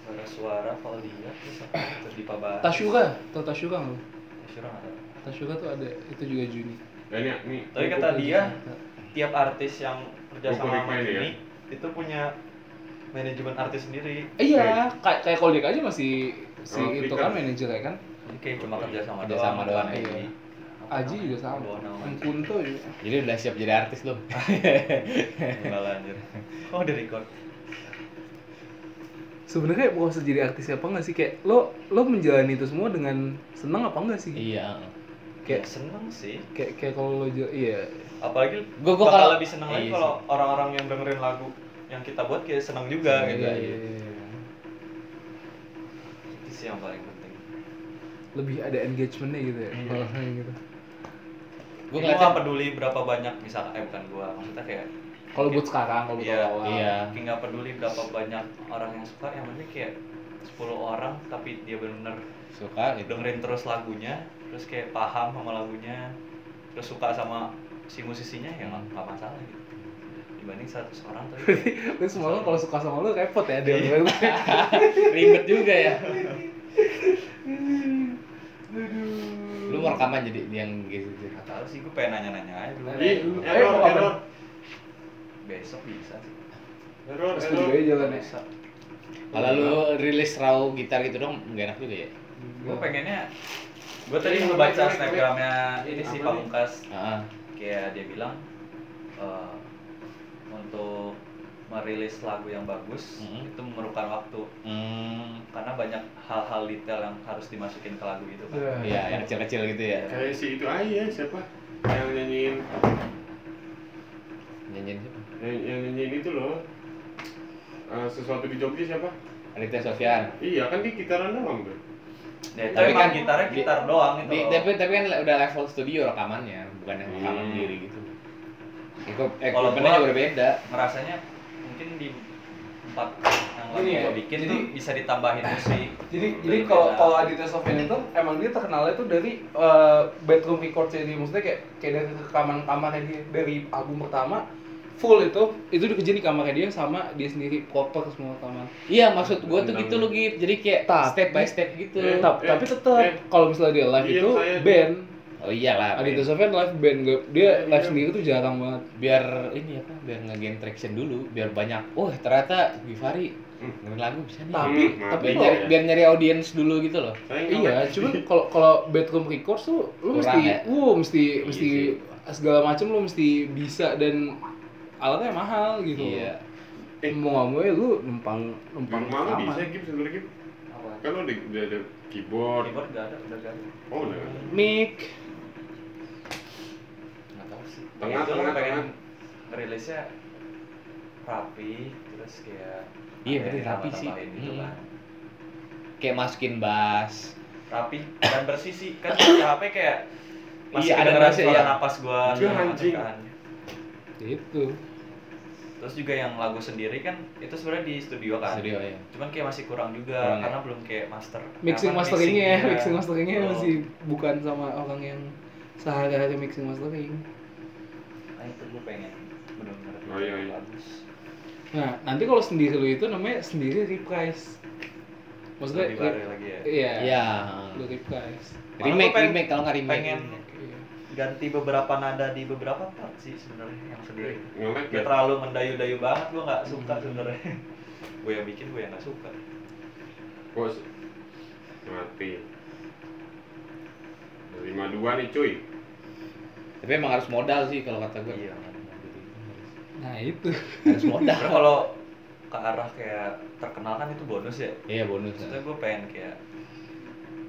Speaker 4: Suara suara kalau dia terus apa terus di Pabar.
Speaker 2: Tashura, tau Tashura nggak?
Speaker 4: Tasyura nggak tahu.
Speaker 2: Tashura tuh ada, itu juga Juni.
Speaker 1: Dan ya, nih.
Speaker 4: Tapi
Speaker 1: gua-
Speaker 4: kata dia tiap artis yang kerja
Speaker 1: Buku
Speaker 4: sama sama
Speaker 1: Hikmah ini ya?
Speaker 4: ini itu punya manajemen artis sendiri.
Speaker 2: Eh, Iya, kayak kayak Koldek aja masih si
Speaker 1: Sama
Speaker 2: itu
Speaker 1: Flickr.
Speaker 2: kan manajernya kan.
Speaker 4: Jadi kayak cuma kerja sama
Speaker 3: Kerja
Speaker 4: doang.
Speaker 3: sama doang,
Speaker 4: bukan
Speaker 3: iya.
Speaker 4: ini. Apa
Speaker 2: Aji
Speaker 4: namanya?
Speaker 2: juga sama.
Speaker 4: Bawa nama.
Speaker 2: Kunto juga.
Speaker 3: jadi udah siap jadi artis lo
Speaker 4: Enggak lah, anjir. Oh, di record.
Speaker 2: Sebenarnya proses jadi artis apa nggak sih kayak lo lo menjalani itu semua dengan senang apa enggak sih?
Speaker 3: iya
Speaker 2: Kayak
Speaker 4: Kayak seneng sih.
Speaker 2: kayak kayak kalau lo jel- iya
Speaker 4: Apalagi
Speaker 3: Gua- gua
Speaker 4: bakal
Speaker 3: kalau-
Speaker 4: lebih seneng lagi
Speaker 3: iya
Speaker 4: kalau orang-orang yang dengerin lagu yang kita buat kayak seneng juga
Speaker 3: Seneng
Speaker 4: gitu.
Speaker 2: Iya,
Speaker 3: juga.
Speaker 4: Itu sih yang paling penting.
Speaker 2: lebih ada engagementnya gitu ya
Speaker 4: Iya.
Speaker 2: kalau kayak gitu
Speaker 3: gue
Speaker 4: Gua nggak
Speaker 3: ngeliatnya
Speaker 4: peduli berapa banyak misalnya eh bukan gua, maksudnya kayak
Speaker 2: kalau buat sekarang kalau buat
Speaker 4: Iya,
Speaker 2: awal
Speaker 3: iya
Speaker 4: kayak nggak peduli berapa banyak orang yang suka, yang penting kayak 10 orang tapi dia bener-bener
Speaker 3: suka gitu
Speaker 4: dengerin terus lagunya terus kayak paham sama lagunya terus suka sama si musisinya ya nggak nggak masalah gitu dibanding satu orang tapi
Speaker 2: lu semua lo kalau suka sama lo repot ya dia
Speaker 3: ribet juga ya
Speaker 2: aduh
Speaker 3: lu mau rekaman jadi yang gitu gitu
Speaker 4: nggak tahu sih gue pengen nanya-nanya aja dulu
Speaker 1: Ih,
Speaker 2: lu- eh,
Speaker 1: error,
Speaker 2: lu apa?
Speaker 1: error.
Speaker 4: besok bisa sih
Speaker 1: Error,
Speaker 2: terus
Speaker 1: error.
Speaker 2: juga ya jalan ya
Speaker 4: besok
Speaker 3: kalau lu
Speaker 4: Iya.
Speaker 3: rilis raw gitar gitu dong nggak enak juga ya
Speaker 4: gue pengennya gue tadi
Speaker 1: Ini
Speaker 4: mau
Speaker 1: namanya-
Speaker 4: baca snapgramnya
Speaker 1: ini
Speaker 4: ini
Speaker 1: Iya,
Speaker 4: sih
Speaker 1: apa nih?
Speaker 4: pamungkas
Speaker 3: Heeh.
Speaker 4: kayak dia bilang eh, untuk merilis lagu yang bagus
Speaker 1: Hmm.
Speaker 3: Mhm.
Speaker 4: itu memerlukan waktu
Speaker 3: hmm
Speaker 4: karena banyak hal-hal detail yang harus dimasukin ke lagu itu kan
Speaker 3: ya yang kecil kecil gitu ya
Speaker 1: Kayak si itu aja siapa? Yang nyanyiin
Speaker 3: nyanyiin siapa
Speaker 1: yang, yang nyanyiin itu loh. Eh, sesuatu di Jogja siapa?
Speaker 3: Aditya Sofyan
Speaker 1: Iya kan dia gitaran doang tuh.
Speaker 4: Nah, itu
Speaker 3: Tapi
Speaker 4: emang
Speaker 3: kan-
Speaker 4: gitarnya
Speaker 3: di-
Speaker 4: gitar doang gitu itu.
Speaker 3: Di- tapi tapi kan udah level studio rekamannya, bukan yang rekaman
Speaker 1: Hmm.
Speaker 3: sendiri gitu. Eko,
Speaker 4: Iya. Kalau
Speaker 3: equipmentnya
Speaker 4: gua-
Speaker 3: juga berbeda.
Speaker 4: Merasanya mungkin di empat yang lagi
Speaker 2: Ini ya,
Speaker 4: gua bikin
Speaker 2: jadi-
Speaker 4: tuh bisa ditambahin musik.
Speaker 2: jadi jadi kalau kalau Aditya Sofyan itu emang dia terkenalnya itu dari eh, bedroom record jadi maksudnya kayak kayak dari rekaman kamarnya dia dari album pertama full itu itu dikerjain di kamarnya dia sama dia sendiri proper semua rekaman
Speaker 3: Iya, maksud gua tuh
Speaker 1: Tentang-
Speaker 3: gitu loh, Git. Jadi kayak
Speaker 2: Tapi-
Speaker 3: step by step gitu.
Speaker 1: Eh,
Speaker 2: Tap- tapi tetap
Speaker 1: eh.
Speaker 2: kalau misalnya dia live
Speaker 1: Iya,
Speaker 2: itu
Speaker 1: saya-
Speaker 2: band
Speaker 3: Oh iyalah.
Speaker 2: Aditya
Speaker 3: biar-
Speaker 2: Sofyan live band nggak dia
Speaker 1: Iya,
Speaker 2: live
Speaker 1: iya.
Speaker 2: sendiri tuh jarang banget.
Speaker 3: biar ini apa? Biar nge-gain traction dulu, biar banyak. Oh, ternyata Givari
Speaker 1: Hmm.
Speaker 3: ngeluarin lagu bisa nih.
Speaker 2: Tapi
Speaker 4: nah,
Speaker 1: Hmm, maaf
Speaker 3: biar
Speaker 2: tapi kalau-
Speaker 3: nyari,
Speaker 4: iya.
Speaker 3: biar nyari audiens dulu gitu loh.
Speaker 2: iya, cuman kalau kalau bedroom records tuh
Speaker 3: Kurang
Speaker 2: lu mesti
Speaker 3: ya?
Speaker 2: wow, mesti
Speaker 1: Iya
Speaker 2: mesti
Speaker 1: sih.
Speaker 2: segala macam lu mesti bisa dan alatnya mahal gitu.
Speaker 3: Iya.
Speaker 1: Eh.
Speaker 2: Mau nggak mau ya lu numpang
Speaker 1: Bang
Speaker 2: numpang
Speaker 1: Malu
Speaker 2: rekaman.
Speaker 1: bisa Gib sebenernya Gib
Speaker 4: Apa?
Speaker 1: Kan lu udah, udah ada keyboard
Speaker 4: Keyboard nggak ada, udah nggak ada.
Speaker 1: Oh udah
Speaker 2: Mic
Speaker 4: Nggak tahu sih.
Speaker 1: Tengah,
Speaker 4: Itu
Speaker 1: tengah,
Speaker 4: pengen
Speaker 1: tengah.
Speaker 4: Rilisnya rapi, terus kayak
Speaker 3: Iya,
Speaker 4: ada
Speaker 3: berarti
Speaker 4: yang
Speaker 3: rapi sih.
Speaker 4: tambah-tambahin Gitu
Speaker 3: Hmm.
Speaker 4: kan.
Speaker 3: Kayak masukin bass.
Speaker 4: Rapi dan bersisi kan di HP kayak masih
Speaker 3: Iya, ada
Speaker 4: ada
Speaker 3: ngerasa,
Speaker 4: suara
Speaker 3: iya.
Speaker 4: napas gua
Speaker 1: Iya,
Speaker 4: segala macam
Speaker 1: anjing.
Speaker 4: kan.
Speaker 2: gitu.
Speaker 4: Terus juga yang lagu sendiri kan itu sebenarnya di studio kan.
Speaker 3: Studio ya.
Speaker 4: Cuman kayak masih kurang juga
Speaker 3: Kurang ya?
Speaker 4: karena belum kayak master.
Speaker 2: Mixing
Speaker 4: Apa, iya.
Speaker 2: masteringnya ya,
Speaker 4: mixing-nya. Oh.
Speaker 2: mixing masteringnya
Speaker 4: Belum.
Speaker 2: masih bukan sama orang yang sehari-hari mixing mastering.
Speaker 4: Nah, itu gua pengen benar-benar
Speaker 1: Oh, iya, iya.
Speaker 4: bagus.
Speaker 2: Nah, nanti kalau sendiri lu itu namanya sendiri reprise. Maksudnya
Speaker 4: Lebih baru lagi ya.
Speaker 2: Iya.
Speaker 3: Iya.
Speaker 2: Lu reprise.
Speaker 4: Malah
Speaker 3: Remake,
Speaker 4: gua pengen-
Speaker 3: remake kalau nggak remake.
Speaker 4: pengen
Speaker 2: Iya.
Speaker 4: ganti beberapa nada di beberapa part sih sebenarnya yang sendiri.
Speaker 1: Nge-lag ya?
Speaker 2: Iya.
Speaker 4: Gak terlalu mendayu-dayu banget, gua nggak suka sebenarnya. gue yang bikin, gue yang nggak suka.
Speaker 1: Bos Mati Dari dua nih cuy
Speaker 3: Tapi emang harus modal sih kalau kata gue.
Speaker 4: Iya.
Speaker 2: Nah, itu.
Speaker 3: Harus modal.
Speaker 4: Sebenarnya kalau ke arah kayak terkenal kan itu bonus ya.
Speaker 3: Iya bonus.
Speaker 4: Maksudnya gue pengen kayak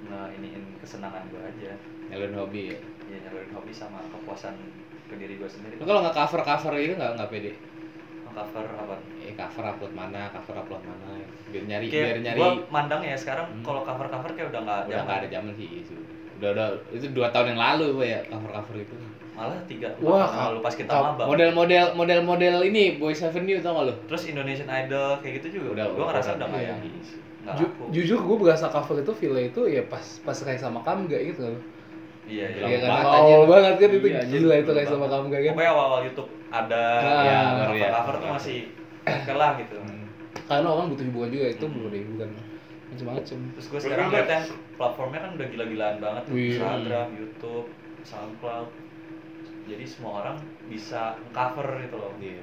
Speaker 4: nah iniin kesenangan gue aja.
Speaker 3: Nyalon hobi ya.
Speaker 4: Ya nyalurin hobi sama kepuasan ke diri gue sendiri.
Speaker 3: Lu kalau nggak cover cover itu nggak nggak pede.
Speaker 4: cover apa?
Speaker 3: Eh cover upload mana, cover upload mana. gitu. Biar nyari, biar
Speaker 4: Kayak
Speaker 3: nyari.
Speaker 4: gue mandang ya sekarang
Speaker 3: Hmm.
Speaker 4: kalau cover-cover kayak udah nggak
Speaker 3: udah
Speaker 4: zaman.
Speaker 3: nggak ada zaman sih itu. Udah udah itu dua tahun yang lalu gue ya cover cover itu.
Speaker 4: Malah tiga.
Speaker 2: Wah,
Speaker 4: Wah, kalau pas kita
Speaker 2: kap-
Speaker 4: maba.
Speaker 3: Model-model model-model ini Boys Avenue tau gak lu?
Speaker 4: Terus Indonesian Idol kayak gitu juga.
Speaker 3: Udah,
Speaker 4: gue ngerasa udah nggak
Speaker 2: iya.
Speaker 4: yang nggak
Speaker 2: Ju-
Speaker 4: laku.
Speaker 2: jujur gue berasa cover itu feel itu ya pas pas kayak sama Kamga gitu loh.
Speaker 4: Iya, iya.
Speaker 3: Lama
Speaker 2: Iya kan
Speaker 3: banget,
Speaker 2: awal
Speaker 3: anjir.
Speaker 2: banget kan itu
Speaker 3: Iya, anjir,
Speaker 2: gila itu
Speaker 3: lama
Speaker 2: kayak sama
Speaker 3: banget.
Speaker 2: Kamga kan.
Speaker 4: Pokoknya awal-awal YouTube ada,
Speaker 2: Nah,
Speaker 4: ya,
Speaker 2: ya,
Speaker 3: baru ya.
Speaker 4: cover tuh masih oke lah gitu.
Speaker 2: Karena orang butuh hiburan juga itu
Speaker 4: Hmm.
Speaker 2: belum ada hiburan macam-macam.
Speaker 4: Terus gue sekarang
Speaker 1: Terus
Speaker 4: liatnya platformnya kan udah gila-gilaan banget tuh,
Speaker 2: Iya.
Speaker 4: Instagram, YouTube, SoundCloud. Jadi semua orang bisa cover gitu loh.
Speaker 3: Iya.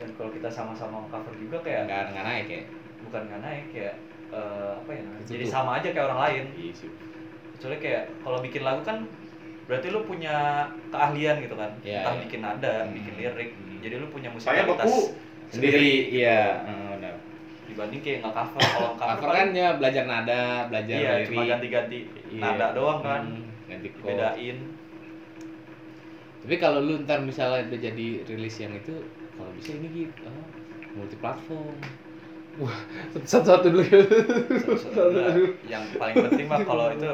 Speaker 4: Dan kalau kita sama-sama cover juga kayak
Speaker 3: Nggak nggak naik ya.
Speaker 4: bukan nggak naik kayak eh, apa ya namanya?
Speaker 3: Itu
Speaker 4: Jadi
Speaker 3: tuh.
Speaker 4: sama aja kayak orang lain.
Speaker 3: Iya sih.
Speaker 4: kecuali kayak kalau bikin lagu kan berarti lu punya keahlian gitu kan
Speaker 3: Iya,
Speaker 4: entah
Speaker 3: iya.
Speaker 4: bikin nada
Speaker 3: Hmm.
Speaker 4: bikin lirik
Speaker 3: Hmm.
Speaker 4: jadi lu punya
Speaker 1: Saya beku.
Speaker 4: musikalitas
Speaker 3: Sendiri, iya. Heeh, benar.
Speaker 4: dibanding kayak nggak cover kalau cover,
Speaker 3: Cover kan
Speaker 4: paling-
Speaker 3: ya belajar nada, belajar
Speaker 4: iya
Speaker 3: lirik.
Speaker 4: cuma ganti-ganti
Speaker 3: Iya.
Speaker 4: nada doang kan
Speaker 3: Hmm, ganti chord.
Speaker 4: bedain
Speaker 3: Tapi kalau lu ntar misalnya udah jadi rilis yang itu, kalau bisa ini gitu, ah, multi platform.
Speaker 2: Satu-satu dulu.
Speaker 4: yang paling penting mah kalau itu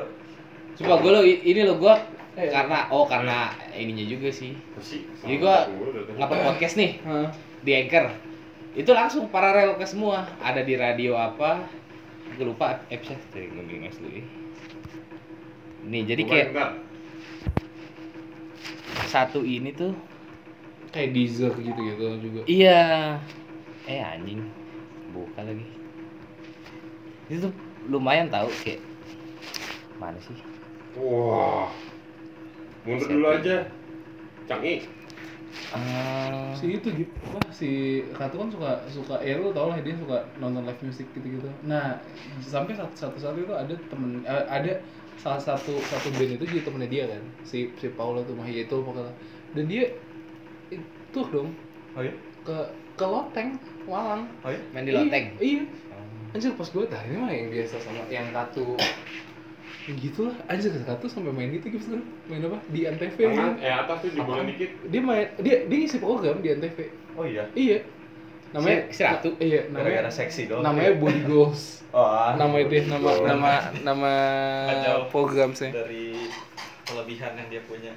Speaker 3: Coba gue lo ini lo gue
Speaker 2: Eh.
Speaker 3: karena oh karena ininya juga sih.
Speaker 1: Besi
Speaker 3: Jadi gua- Ngapa podcast nih
Speaker 2: Hah?
Speaker 3: di Anchor? Itu langsung paralel ke semua. Ada di radio apa? Gue lupa episode dari gue bilang asli. ya. Nih jadi kayak satu ini tuh
Speaker 2: Kayak Deezer gitu-gitu juga.
Speaker 3: Iya. Eh anjing. Buka lagi. Itu tuh lumayan tahu kayak mana sih?
Speaker 1: Wah Mundur dulu
Speaker 3: ya?
Speaker 1: aja Canggih
Speaker 3: Ah,
Speaker 2: si itu gitu apa si Ratu kan suka suka ya lu tau lah dia suka nonton live music gitu gitu nah sampai satu satu satu itu ada temen eh, ada salah satu satu band itu jadi temennya dia kan si si Paula tuh Mahia itu pokoknya dan dia itu dong
Speaker 4: oh iya
Speaker 2: ke ke loteng walang
Speaker 4: oh iya
Speaker 3: main di loteng.
Speaker 2: iya, iya. anjir pas gue dah ini mah yang biasa sama yang Ratu gitu lah anjir Ratu sampai main gitu gitu main apa di antv
Speaker 1: Tangan eh atas tuh
Speaker 2: Apaan?
Speaker 1: dibuang dikit
Speaker 2: dia main dia dia ngisi program di antv
Speaker 4: oh iya
Speaker 2: Iya. Namanya
Speaker 3: Si- si Ratu?
Speaker 2: na- Iya, namanya
Speaker 4: gara-gara seksi doang ya.
Speaker 2: namanya Body Goals.
Speaker 4: oh, ah.
Speaker 2: Nama itu nama
Speaker 1: Goals.
Speaker 2: nama nama
Speaker 4: Nggak jauh.
Speaker 2: program sih.
Speaker 4: dari kelebihan yang dia punya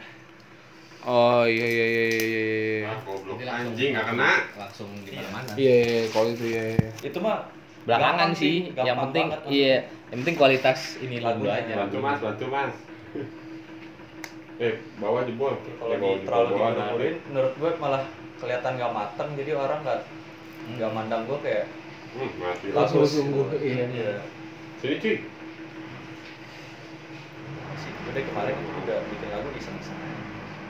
Speaker 2: Oh iya iya iya iya iya.
Speaker 1: Ah goblok
Speaker 3: Jadi langsung-
Speaker 1: Anjing gak kena
Speaker 3: Langsung di mana-mana.
Speaker 2: Iya iya kalau itu iya iya.
Speaker 4: itu mah
Speaker 3: Belakangan
Speaker 4: gampang
Speaker 3: sih, yang
Speaker 4: gampang
Speaker 3: penting
Speaker 4: banget.
Speaker 3: iya, yang penting kualitas ini lagu
Speaker 4: Lagunya.
Speaker 3: aja.
Speaker 1: Bantu mas, bantu mas Eh, bawah jebol
Speaker 4: Gitu. kalau
Speaker 1: Eh,
Speaker 4: di
Speaker 1: bawah jebol,
Speaker 4: terlalu
Speaker 1: bawah nah.
Speaker 4: diburu-buruin menurut gue malah kelihatan gak mateng jadi orang nggak
Speaker 3: Hmm.
Speaker 4: nggak mandang gue kayak Gitu. Iya,
Speaker 1: Hmm, mati
Speaker 2: Langsung
Speaker 3: iya.
Speaker 4: bagus
Speaker 2: sungguh,
Speaker 4: gitu.
Speaker 2: iya.
Speaker 4: iya
Speaker 1: Sini cuy
Speaker 4: sih udah kemarin itu udah bikin lagu iseng-iseng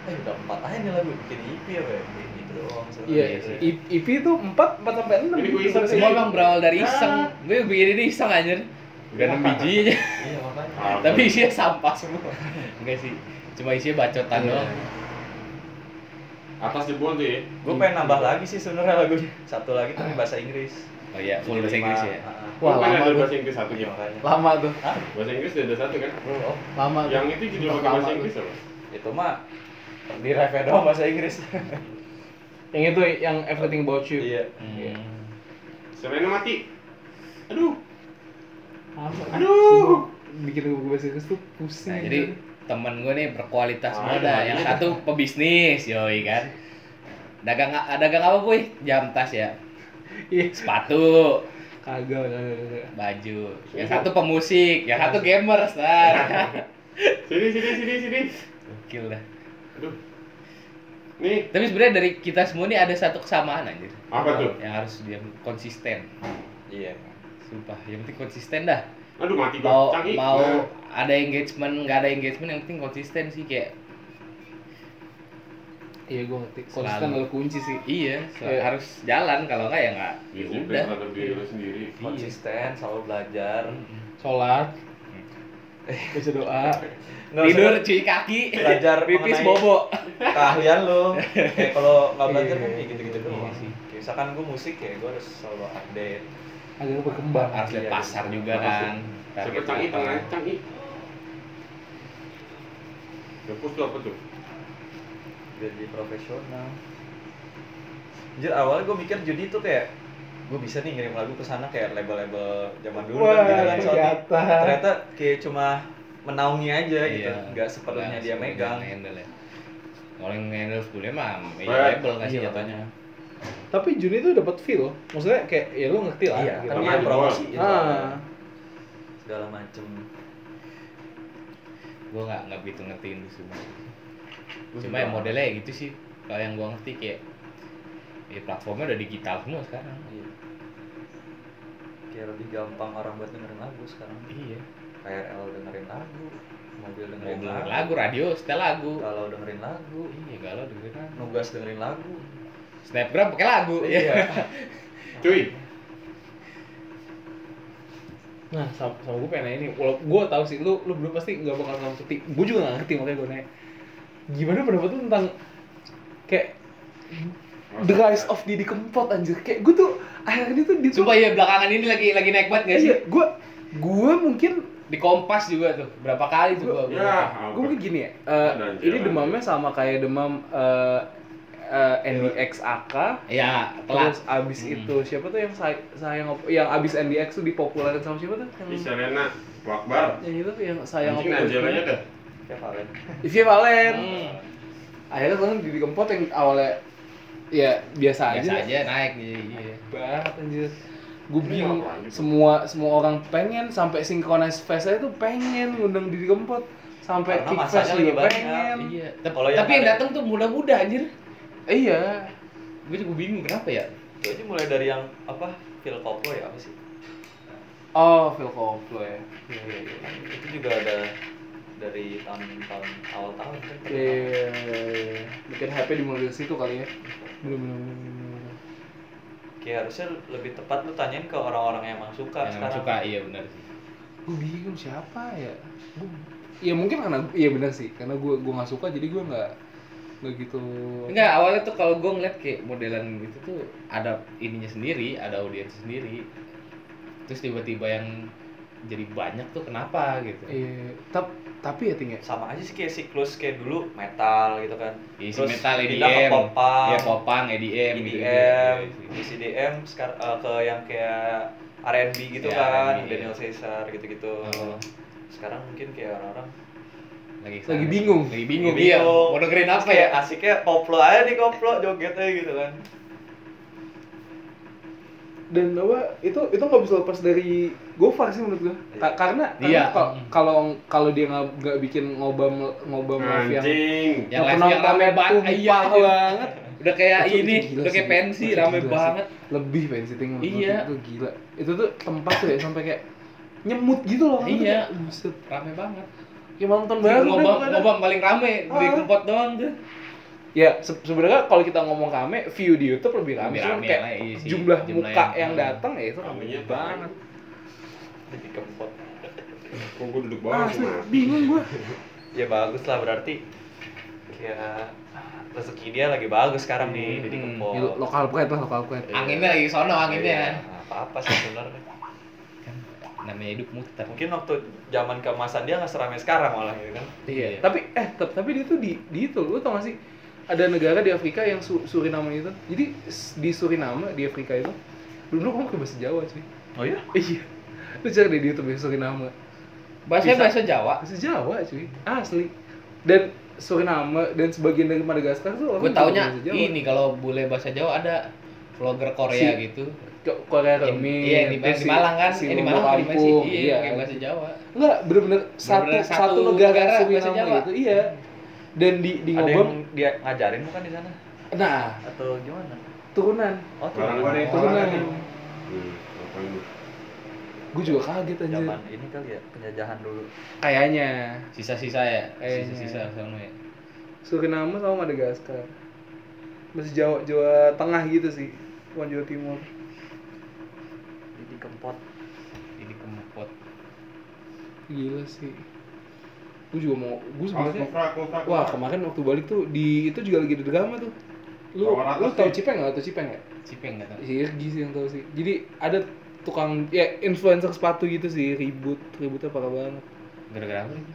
Speaker 4: eh udah empat aja nih lagu bikin EP apa ya kayak gitu doang sebenarnya.
Speaker 2: Iya,
Speaker 3: Iya, iya.
Speaker 2: I- IP itu 4 4 sampai Iya. 6.
Speaker 1: Ini gue iseng sih.
Speaker 3: Semua bang berawal dari
Speaker 1: Ah.
Speaker 3: iseng. Gue bikin ini iseng anjir. Udah enam biji aja.
Speaker 4: iya makanya
Speaker 1: Ah,
Speaker 3: Tapi isinya sampah semua. Enggak sih. Cuma isinya bacotan
Speaker 1: Iya.
Speaker 3: Kan doang.
Speaker 1: atas jebol tuh ya
Speaker 4: gue pengen nambah lagi sih sebenarnya lagunya satu lagi tapi bahasa Inggris
Speaker 3: Oh iya, Ah. full
Speaker 4: Jadi
Speaker 3: bahasa
Speaker 4: lima,
Speaker 3: Inggris ya.
Speaker 4: ah, ah.
Speaker 2: Wah,
Speaker 1: Lu pengen
Speaker 2: lama
Speaker 1: ada
Speaker 2: gua.
Speaker 1: bahasa Inggris satu
Speaker 4: Iya,
Speaker 1: ya
Speaker 4: makanya.
Speaker 2: Lama tuh,
Speaker 4: Hah?
Speaker 1: bahasa Inggris udah ada satu kan
Speaker 4: Oh,
Speaker 2: lama tuh.
Speaker 1: yang itu judul pakai bahasa
Speaker 2: Pertama
Speaker 1: Inggris
Speaker 2: tuh.
Speaker 1: apa
Speaker 4: itu mah di review doang bahasa Inggris
Speaker 2: Yang itu yang everything about you.
Speaker 4: iya
Speaker 3: Hmm.
Speaker 1: Serena mati aduh
Speaker 2: Lama.
Speaker 1: Aduh.
Speaker 2: Sumpah, Bikin lagu bahasa Inggris tuh pusing.
Speaker 3: Nah, jadi temen gue nih
Speaker 1: Ah,
Speaker 3: berkualitas semua
Speaker 1: iya,
Speaker 3: dah.
Speaker 1: iya.
Speaker 3: Yang satu pebisnis, yoi kan. Dagang dagang apa, Puy? Jam tas ya.
Speaker 2: iya,
Speaker 3: Sepatu,
Speaker 2: kagak kagak, kagak.
Speaker 3: baju.
Speaker 1: Iya.
Speaker 3: Yang satu pemusik, yang satu gamer, star.
Speaker 1: sini sini sini sini
Speaker 3: Gokil dah.
Speaker 1: aduh nih
Speaker 3: Tapi sebenarnya dari kita semua nih ada satu kesamaan anjir.
Speaker 1: Apa tuh?
Speaker 3: Yang harus dia konsisten.
Speaker 4: iya
Speaker 3: Sumpah, yang penting konsisten dah.
Speaker 1: aduh mati gua
Speaker 3: Mau
Speaker 1: canggih
Speaker 3: mau
Speaker 1: Nah,
Speaker 3: ada engagement, nggak ada engagement yang penting konsisten sih kayak
Speaker 2: Iya, gua ngerti. Konsisten
Speaker 3: Selalu.
Speaker 2: adalah kunci sih.
Speaker 3: iya, so-
Speaker 2: Iya.
Speaker 3: harus jalan kalau nggak ya nggak ya
Speaker 1: disiplin
Speaker 3: udah.
Speaker 1: terhadap diri lu sendiri
Speaker 4: konsisten selalu belajar
Speaker 3: Hmm.
Speaker 2: Sholat, baca doa,
Speaker 4: Nggak,
Speaker 3: Tidur
Speaker 4: maksudnya
Speaker 3: cuci kaki,
Speaker 4: belajar
Speaker 3: pipis
Speaker 4: mengenai
Speaker 3: bobo.
Speaker 4: keahlian lo kayak kalau nggak belajar kan
Speaker 2: Iya,
Speaker 4: kayak gitu gitu
Speaker 2: iya
Speaker 4: doang
Speaker 2: sih.
Speaker 4: Kayak misalkan gue musik ya gue harus selalu update
Speaker 2: agar berkembang.
Speaker 3: Harus lihat
Speaker 4: Iya,
Speaker 3: pasar
Speaker 4: iya.
Speaker 3: juga kan.
Speaker 1: siapa
Speaker 3: Target
Speaker 1: canggih
Speaker 3: apa.
Speaker 1: tengah canggih Gepus tuh apa tuh?
Speaker 4: jadi profesional Anjir awalnya gue mikir judi tuh kayak gue bisa nih ngirim lagu ke sana kayak label-label zaman dulu
Speaker 2: Wah,
Speaker 4: kan gitu kan Sony.
Speaker 2: ternyata.
Speaker 4: ternyata kayak cuma menaungi aja gitu
Speaker 3: Iya.
Speaker 4: nggak
Speaker 3: Nggak
Speaker 4: sepenuhnya dia
Speaker 3: sepenuhnya
Speaker 4: megang
Speaker 3: ngehandle ya. Kalau yang ngehandle sebelumnya mah meja
Speaker 1: Wah,
Speaker 3: label kan sih
Speaker 4: Iya,
Speaker 3: jatuhnya.
Speaker 2: Tapi Juni tuh dapat feel loh. Maksudnya kayak ya lu ngerti lah.
Speaker 4: iya
Speaker 2: gitu.
Speaker 4: kan
Speaker 1: Sama
Speaker 4: dia
Speaker 1: aja,
Speaker 4: promosi
Speaker 2: Bang.
Speaker 4: gitu.
Speaker 2: Ah.
Speaker 4: segala macem
Speaker 3: Gue nggak nggak begitu ngertiin itu semua.
Speaker 1: Gua
Speaker 3: cuma
Speaker 1: juga.
Speaker 3: yang modelnya ya gitu sih kalau yang gua ngerti kayak ya platformnya udah digital semua sekarang
Speaker 4: Iya. kayak lebih gampang orang buat dengerin lagu sekarang
Speaker 3: iya
Speaker 4: KRL dengerin lagu mobil dengerin
Speaker 3: dengerin
Speaker 4: lagu,
Speaker 3: lagu radio setel lagu
Speaker 4: kalau dengerin lagu
Speaker 3: iya galau dengerin lagu
Speaker 4: nugas dengerin lagu
Speaker 3: snapgram pakai lagu
Speaker 4: Oh,
Speaker 3: iya
Speaker 1: Cuy,
Speaker 2: Nah, sama, sama gue pengen nanya nih, walau gue tau sih, lu, lu dulu pasti gak bakal ngerti, gue juga gak ngerti makanya gue nanya Gimana pendapat lu tentang kayak The Rise of Didi Kempot anjir, kayak gue tuh akhirnya tuh di
Speaker 3: Sumpah iya belakangan ini lagi lagi naik banget gak sih
Speaker 2: Iya, gue, gue mungkin,
Speaker 3: di kompas juga tuh berapa kali tuh gua
Speaker 1: ya
Speaker 2: gue mungkin gini ya eh,
Speaker 1: Nah,
Speaker 2: Ini
Speaker 1: jalan.
Speaker 2: demamnya sama kayak demam eh eh, NDX AK
Speaker 3: ya telat
Speaker 2: Terus abis
Speaker 3: Hmm.
Speaker 2: itu, siapa tuh yang say- sayang, op- yang abis NDX tuh dipopulerin sama siapa tuh?
Speaker 1: Ih,
Speaker 2: Yang,
Speaker 1: Serena, Wakbar
Speaker 2: yang itu tuh yang sayang
Speaker 1: Anjing
Speaker 2: opini.
Speaker 1: Angelanya dah
Speaker 4: ya Valen
Speaker 2: Ivy Valen
Speaker 3: Hmm.
Speaker 2: akhirnya kan Didi Kempot yang awalnya ya biasa,
Speaker 3: biasa
Speaker 2: aja,
Speaker 3: aja naik iya, iya.
Speaker 2: banget anjir gue
Speaker 1: Ini
Speaker 2: bingung
Speaker 1: ngapain gitu?
Speaker 2: semua semua orang pengen sampai synchronize fest itu pengen ngundang Didi Kempot sampai
Speaker 4: Karena
Speaker 2: kick
Speaker 4: masanya
Speaker 2: fest
Speaker 4: lagi
Speaker 2: juga
Speaker 4: banyak.
Speaker 2: pengen
Speaker 3: iya Tep-
Speaker 4: Kalau yang
Speaker 3: tapi yang
Speaker 4: ada-
Speaker 3: datang tuh muda-muda anjir
Speaker 2: iya
Speaker 3: gue juga bingung kenapa ya
Speaker 4: itu aja mulai dari yang apa Phil Koplo ya apa sih
Speaker 2: oh Phil Koplo ya
Speaker 4: itu juga ada dari tahun-tahun awal tahun kan
Speaker 2: iya mungkin HP dimulai dari situ kali ya belum belum belum, belum.
Speaker 4: kayak harusnya lebih tepat lu tanyain ke orang-orang yang emang suka
Speaker 3: yang
Speaker 4: sekarang
Speaker 3: suka iya benar sih
Speaker 2: gue bingung siapa ya Gua- ya mungkin karena iya benar sih karena gue gue nggak suka jadi gue nggak nggak gitu
Speaker 3: Enggak, awalnya tuh kalau gue ngeliat kayak modelan gitu tuh ada ininya sendiri, ada audiens sendiri. Terus tiba-tiba yang jadi banyak tuh kenapa gitu.
Speaker 2: Iya, tap- tapi ya tinggal
Speaker 4: sama aja sih kayak siklus kayak dulu metal gitu kan
Speaker 3: Isi
Speaker 4: Terus
Speaker 3: metal E
Speaker 4: pindah ke
Speaker 3: EDM,
Speaker 4: popang,
Speaker 3: ya popang EDM
Speaker 4: E
Speaker 2: E
Speaker 3: gitu.
Speaker 4: EDM, ECDM, E sekar- eh, ke yang kayak R&B gitu
Speaker 3: Ya,
Speaker 4: kan,
Speaker 3: R&B, iya.
Speaker 4: Daniel Caesar gitu-gitu.
Speaker 3: Oh.
Speaker 4: Sekarang mungkin kayak orang-orang
Speaker 3: Lagi,
Speaker 2: Lagi bingung.
Speaker 3: Lagi bingung
Speaker 4: Lagi
Speaker 3: dia.
Speaker 4: bingung.
Speaker 3: Mau dengerin
Speaker 4: Terus
Speaker 3: apa ya?
Speaker 4: kayak asiknya koplo aja nih koplo joget aja gitu kan.
Speaker 2: dan bahwa itu itu nggak bisa lepas dari Gofar sih menurut gue
Speaker 4: Iya.
Speaker 2: karena
Speaker 3: Iya.
Speaker 2: karena kalau- kalau kalau dia nggak nggak bikin ngobam ngobam live yang
Speaker 1: Anjing
Speaker 3: Yang live yang
Speaker 2: penontonnya
Speaker 3: rame banget,
Speaker 2: tumpah
Speaker 3: iya anjir.
Speaker 2: banget.
Speaker 3: Udah kayak
Speaker 2: Itu- itu
Speaker 3: ini,
Speaker 2: gila
Speaker 3: udah
Speaker 2: sih,
Speaker 3: kayak
Speaker 2: gila.
Speaker 3: pensi
Speaker 2: Itu
Speaker 3: rame
Speaker 2: gila sih.
Speaker 3: banget.
Speaker 2: lebih pensi tinggi menurut
Speaker 3: Iya.
Speaker 2: gua. itu gila itu tuh tempat tuh ya sampai kayak nyemut gitu loh orang tuh
Speaker 3: Iya.
Speaker 2: kayak, kan. buset
Speaker 3: Rame banget.
Speaker 2: ya malam tahun baru deh,
Speaker 3: ngobam
Speaker 2: pokoknya.
Speaker 3: ngobam paling rame beli
Speaker 2: Ah.
Speaker 3: kempot doang tuh
Speaker 2: ya se- sebenarnya kalau kita ngomong rame view di YouTube lebih
Speaker 3: Lebih
Speaker 2: rame cuman
Speaker 3: rame
Speaker 2: kayak
Speaker 3: lah, iya sih.
Speaker 2: jumlah,
Speaker 3: Jumlah
Speaker 2: muka
Speaker 3: yang-
Speaker 2: yang, datang ya itu rame
Speaker 1: Ramenya
Speaker 2: banget
Speaker 4: jadi kempot
Speaker 1: Kok gue duduk
Speaker 2: ah
Speaker 1: bawah sih, Mas?
Speaker 2: bingung gua
Speaker 4: ya bagus lah berarti kayak rezeki dia lagi bagus sekarang nih jadi
Speaker 3: Hmm.
Speaker 4: kempot
Speaker 2: Ya, lo- lokal pride lah lokal pride
Speaker 4: Iya.
Speaker 3: anginnya lagi sono
Speaker 4: Iya,
Speaker 3: anginnya
Speaker 4: apa apa sih sebenarnya
Speaker 3: namanya hidup muter
Speaker 4: mungkin waktu zaman keemasan dia nggak seramai sekarang malah gitu kan
Speaker 3: iya
Speaker 2: tapi eh tapi, tapi dia tuh di di itu lu tau gak sih ada negara di Afrika yang Su- Suriname itu jadi s- di Suriname di Afrika itu dulu kamu ke bahasa Jawa cuy
Speaker 4: oh iya
Speaker 2: iya lu cari deh di YouTube ya Suriname
Speaker 3: bahasa
Speaker 2: Bisa.
Speaker 3: bahasa Jawa
Speaker 2: bahasa Jawa cuy asli dan Suriname dan sebagian dari Madagaskar tuh orang
Speaker 3: gue
Speaker 2: juga
Speaker 3: taunya
Speaker 2: bahasa Jawa.
Speaker 3: ini kalau bule bahasa Jawa ada vlogger Korea
Speaker 2: Si-
Speaker 3: gitu
Speaker 2: Ko- Korea
Speaker 3: Yang-
Speaker 2: Remi
Speaker 3: iya yang di,
Speaker 2: terus
Speaker 3: yang di
Speaker 2: si-
Speaker 3: Malang kan
Speaker 2: si
Speaker 3: yang di
Speaker 2: Lombok
Speaker 3: Malang apa di mana sih
Speaker 2: Kampung,
Speaker 3: iya
Speaker 2: iya
Speaker 3: pakai bahasa Jawa
Speaker 2: enggak bener-bener satu,
Speaker 3: Bener-bener
Speaker 2: satu,
Speaker 3: satu
Speaker 2: negara
Speaker 3: negara, bahasa
Speaker 2: Suriname
Speaker 3: Jawa.
Speaker 2: gitu iya dan di di
Speaker 4: ada
Speaker 2: Ngobam
Speaker 4: yang dia ngajarin bukan di sana
Speaker 2: nah
Speaker 4: atau gimana
Speaker 2: turunan
Speaker 4: oh tuh
Speaker 1: Barang barang yang
Speaker 2: Turunan.
Speaker 1: orang kan. Hmm, apa ini?
Speaker 2: gue juga kaget aja
Speaker 4: zaman ini kali ya penjajahan dulu
Speaker 2: kayaknya
Speaker 3: sisa-sisa ya
Speaker 2: Kayaknya.
Speaker 3: sisa-sisa sono ya
Speaker 2: Suriname sama Madagaskar masih Jawa Jawa Tengah gitu sih bukan Jawa Timur
Speaker 4: jadi kempot
Speaker 3: ini kempot
Speaker 2: gila sih gue juga mau gue
Speaker 1: Awas,
Speaker 2: sebenarnya
Speaker 1: kufra, kufra, kufra.
Speaker 2: wah kemarin waktu balik tuh di itu juga lagi ada drama tuh lu
Speaker 1: Lawan atas
Speaker 2: lu tau
Speaker 1: nih.
Speaker 2: Cipeng nggak atau Cipeng ya
Speaker 3: cipeng nggak tahu
Speaker 2: si Irgi sih yang tahu sih jadi ada tukang ya influencer sepatu gitu sih ribut ributnya parah banget
Speaker 3: gara-gara apa sih?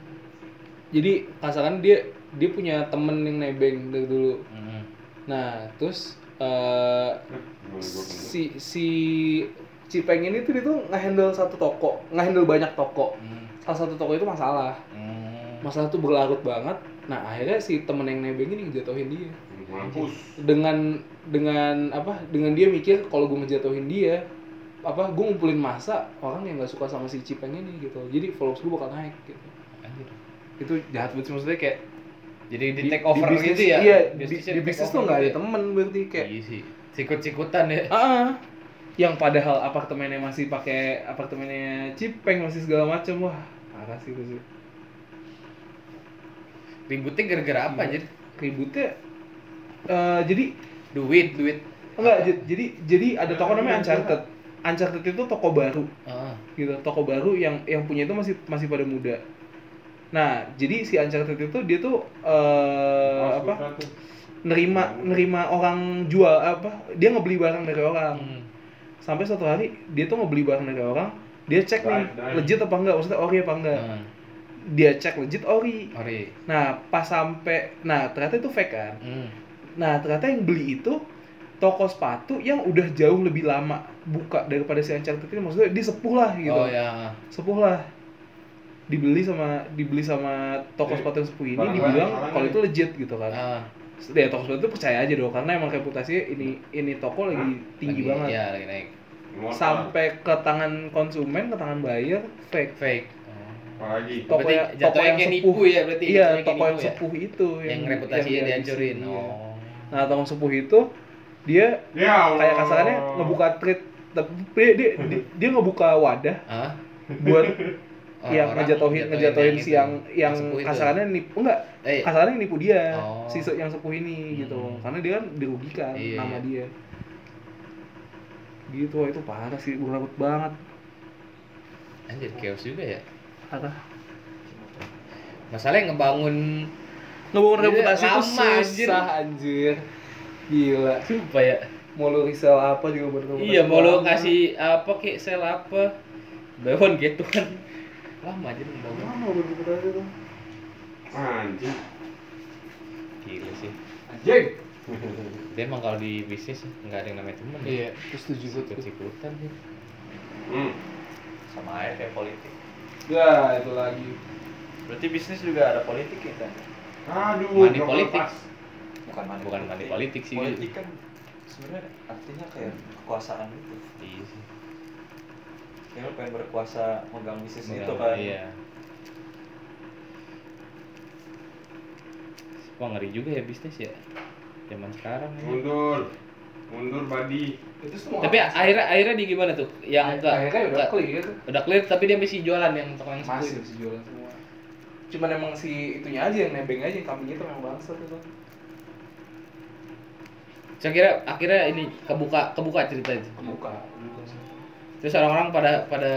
Speaker 2: jadi kasaran dia dia punya temen yang nebeng dari dulu
Speaker 3: Mm-mm.
Speaker 2: nah terus eh
Speaker 1: Gimana gua kena?
Speaker 2: si si Cipeng ini tuh dia tuh ngehandle satu toko ngehandle banyak toko
Speaker 3: Mm.
Speaker 2: salah satu toko itu masalah
Speaker 3: Mm.
Speaker 2: masalah tuh berlarut banget nah akhirnya si temen yang nebeng ini ngejatuhin dia
Speaker 1: Mampus.
Speaker 2: dengan dengan apa dengan dia mikir kalau gue ngejatuhin dia apa gue ngumpulin masa orang yang nggak suka sama si Cipeng ini gitu jadi followers gue bakal naik gitu
Speaker 3: Anjir.
Speaker 2: itu jahat banget sih maksudnya kayak
Speaker 3: jadi di,
Speaker 2: di-
Speaker 3: take over
Speaker 2: di bisnis-
Speaker 3: gitu ya
Speaker 2: iya di,
Speaker 3: Bisnisnya
Speaker 2: di
Speaker 3: take
Speaker 2: bisnis
Speaker 3: over
Speaker 2: tuh nggak ada
Speaker 3: gitu ya?
Speaker 2: temen berarti kayak
Speaker 3: iya sih sikut-sikutan ya
Speaker 2: ah ah. yang padahal apartemennya masih pakai apartemennya Cipeng masih segala macem wah parah sih itu sih
Speaker 3: ributnya gara-gara apa
Speaker 2: Iya.
Speaker 3: anjir
Speaker 2: ributnya eh, jadi
Speaker 3: duit duit
Speaker 2: enggak j- jadi jadi ada toko namanya Uncharted Uncharted itu toko baru
Speaker 3: ah
Speaker 2: gitu toko baru yang yang punya itu masih masih pada muda nah jadi si Uncharted itu dia tuh eh,
Speaker 1: Awas,
Speaker 2: apa
Speaker 1: kufra tuh.
Speaker 2: nerima nerima orang jual apa dia ngebeli barang dari orang
Speaker 3: Hmm.
Speaker 2: sampai suatu hari dia tuh ngebeli barang dari orang dia cek nih
Speaker 1: Baik, baik.
Speaker 2: legit apa enggak maksudnya ori apa enggak
Speaker 3: Ah.
Speaker 2: dia cek legit ori
Speaker 3: ori
Speaker 2: nah pas sampai nah ternyata itu fake kan
Speaker 3: Hmm.
Speaker 2: nah ternyata yang beli itu toko sepatu yang udah jauh lebih lama buka daripada si Uncharted ini maksudnya dia sepuh lah gitu
Speaker 3: oh ya
Speaker 2: sepuh lah dibeli sama dibeli sama toko
Speaker 3: Iya.
Speaker 1: Eh,
Speaker 2: sepatu yang sepuh ini
Speaker 1: barang-barang
Speaker 2: dibilang
Speaker 1: soalnya.
Speaker 3: ya.
Speaker 2: kalau itu legit gitu kan
Speaker 3: ah
Speaker 2: ya toko sepatu itu percaya aja dong karena emang reputasinya ini ini toko lagi tinggi
Speaker 3: lagi-
Speaker 2: banget
Speaker 3: ya lagi naik
Speaker 1: Immortal.
Speaker 2: sampai ke tangan konsumen ke tangan buyer fake
Speaker 3: fake
Speaker 1: Apa lagi?
Speaker 2: Toko
Speaker 3: berarti
Speaker 2: yang- toko
Speaker 3: jatuhnya
Speaker 2: yang
Speaker 3: kayak
Speaker 2: sepuh.
Speaker 3: nipu ya berarti
Speaker 2: iya
Speaker 3: jatuhnya kayak
Speaker 2: toko yang
Speaker 3: nipu ya?
Speaker 2: sepuh itu
Speaker 3: yang reputasinya
Speaker 2: yang
Speaker 3: dihancurin
Speaker 2: dihabisi, iya.
Speaker 3: oh
Speaker 2: nah toko sepuh itu dia
Speaker 1: Ya Allah.
Speaker 2: kayak kasarannya ngebuka treat tapi dia dia, dia- dia ngebuka wadah
Speaker 3: ah
Speaker 2: buat
Speaker 3: Oh,
Speaker 2: yang
Speaker 3: orang
Speaker 2: iya, ngejatuhin ngejatuhin
Speaker 3: itu,
Speaker 2: si yang yang
Speaker 3: sepuh itu.
Speaker 2: kasarannya nipu enggak
Speaker 3: eh
Speaker 2: kasarannya nipu dia
Speaker 3: Oh.
Speaker 2: si se- yang sepuh ini gitu
Speaker 3: Hmm.
Speaker 2: karena dia kan dirugikan
Speaker 3: Iya,
Speaker 2: nama
Speaker 3: iya.
Speaker 2: dia gitu wah, itu parah sih berlarut banget
Speaker 3: anjir chaos juga ya
Speaker 2: parah
Speaker 3: masalahnya ngebangun
Speaker 2: ngebangun
Speaker 3: Iya,
Speaker 2: reputasi itu
Speaker 3: lama,
Speaker 2: susah
Speaker 3: anjir.
Speaker 2: anjir. gila
Speaker 3: apa ya
Speaker 2: mau lu risel apa juga buat reputasi
Speaker 3: iya mau lo
Speaker 2: lama.
Speaker 3: kasih apa kek sel apa bawon gitu kan lama aja ngebangun
Speaker 2: lama buat reputasi tuh
Speaker 1: Anjing.
Speaker 3: gila sih
Speaker 2: anjing
Speaker 3: dia emang kalau di bisnis nggak ada yang namanya temen ya?
Speaker 2: iya terus tujuh gue tuh
Speaker 3: sikut-sikutan sih
Speaker 1: Hmm.
Speaker 4: sama aja kayak politik
Speaker 2: ya itu lagi
Speaker 4: berarti bisnis juga ada politik ya kan
Speaker 1: Aduh,
Speaker 3: Money
Speaker 1: blok
Speaker 3: politik.
Speaker 1: lepas.
Speaker 4: bukan money
Speaker 3: Bukan money
Speaker 2: Iya.
Speaker 3: politik sih.
Speaker 4: politik kan sebenarnya artinya kayak kekuasaan gitu
Speaker 3: iya sih
Speaker 4: kayak lo pengen berkuasa megang bisnis itu
Speaker 3: Megang-
Speaker 4: kan
Speaker 3: iya wah ngeri juga ya bisnis ya zaman sekarang ya.
Speaker 2: Iya.
Speaker 1: Mundur. Mundur Badi.
Speaker 2: itu
Speaker 3: tapi akhirnya akhirnya di gimana tuh yang enggak
Speaker 2: akhirnya udah
Speaker 3: enggak-
Speaker 2: clear
Speaker 3: udah clear tapi dia masih jualan yang tukang yang
Speaker 2: masih
Speaker 3: sepuluh
Speaker 2: bisa jualan semua cuman emang si itunya aja yang nebeng aja yang kambingnya tuh emang bangsat itu
Speaker 3: Saya kira akhirnya ini kebuka kebuka cerita itu.
Speaker 2: kebuka
Speaker 3: Iya.
Speaker 2: sih.
Speaker 3: Terus orang-orang pada pada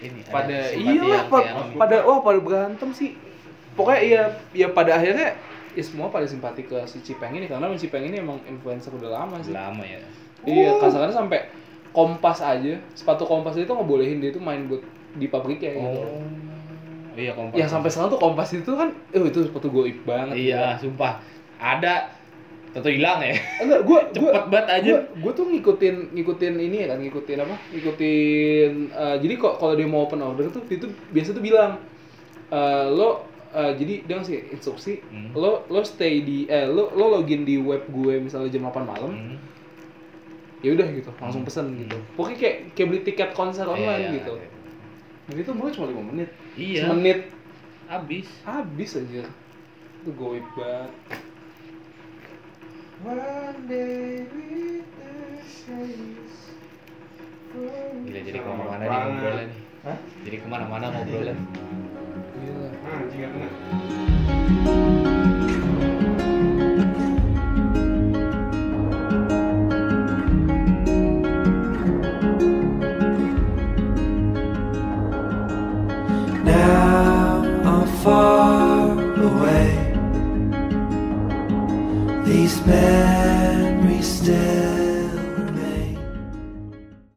Speaker 3: ini ada
Speaker 2: pada
Speaker 3: simpati
Speaker 2: iyalah
Speaker 3: yang
Speaker 2: pa-
Speaker 3: kayak- gitu.
Speaker 2: pada wah pada berantem sih pokoknya iya ya pada akhirnya ya semua pada simpati ke si Cipeng ini karena si Cipeng ini emang influencer udah lama sih
Speaker 3: lama ya.
Speaker 2: iya kasarnya sampai kompas aja sepatu kompas itu ngebolehin dia tuh main buat di pabrik ya gitu
Speaker 3: Oh. Iya kompas.
Speaker 2: yang sampai sekarang tuh kompas itu kan eh itu sepatu goib banget
Speaker 3: Iya, sumpah. Ada tentu hilang ya.
Speaker 2: enggak gua gua
Speaker 3: Cepet banget aja.
Speaker 2: Gua, gua tuh ngikutin ngikutin ini ya kan ngikutin apa ngikutin eh, jadi kok kalau dia mau open order tuh itu biasa tuh bilang eh, lo eh, jadi dia ngasih instruksi
Speaker 3: Hmm.
Speaker 2: lo kan? lo stay di eh lo lo login di web gue misalnya jam 8 malam
Speaker 3: Hmm.
Speaker 2: ya udah gitu langsung pesen
Speaker 3: Hmm.
Speaker 2: gitu pokoknya kayak kayak beli tiket konser online
Speaker 3: Iya,
Speaker 2: gitu
Speaker 3: iya.
Speaker 2: jadi tuh mulu cuma lima menit
Speaker 3: Iya,
Speaker 2: menit
Speaker 3: habis.
Speaker 2: habis aja itu goib banget
Speaker 3: Gila jadi
Speaker 1: Sama
Speaker 3: kemana-mana nih
Speaker 1: banget.
Speaker 3: ngobrolnya nih. Jadi kemana-mana ngobrolnya.
Speaker 2: Gila.
Speaker 1: Ah, anjing gak kena.
Speaker 5: Now I'm far away. These memories still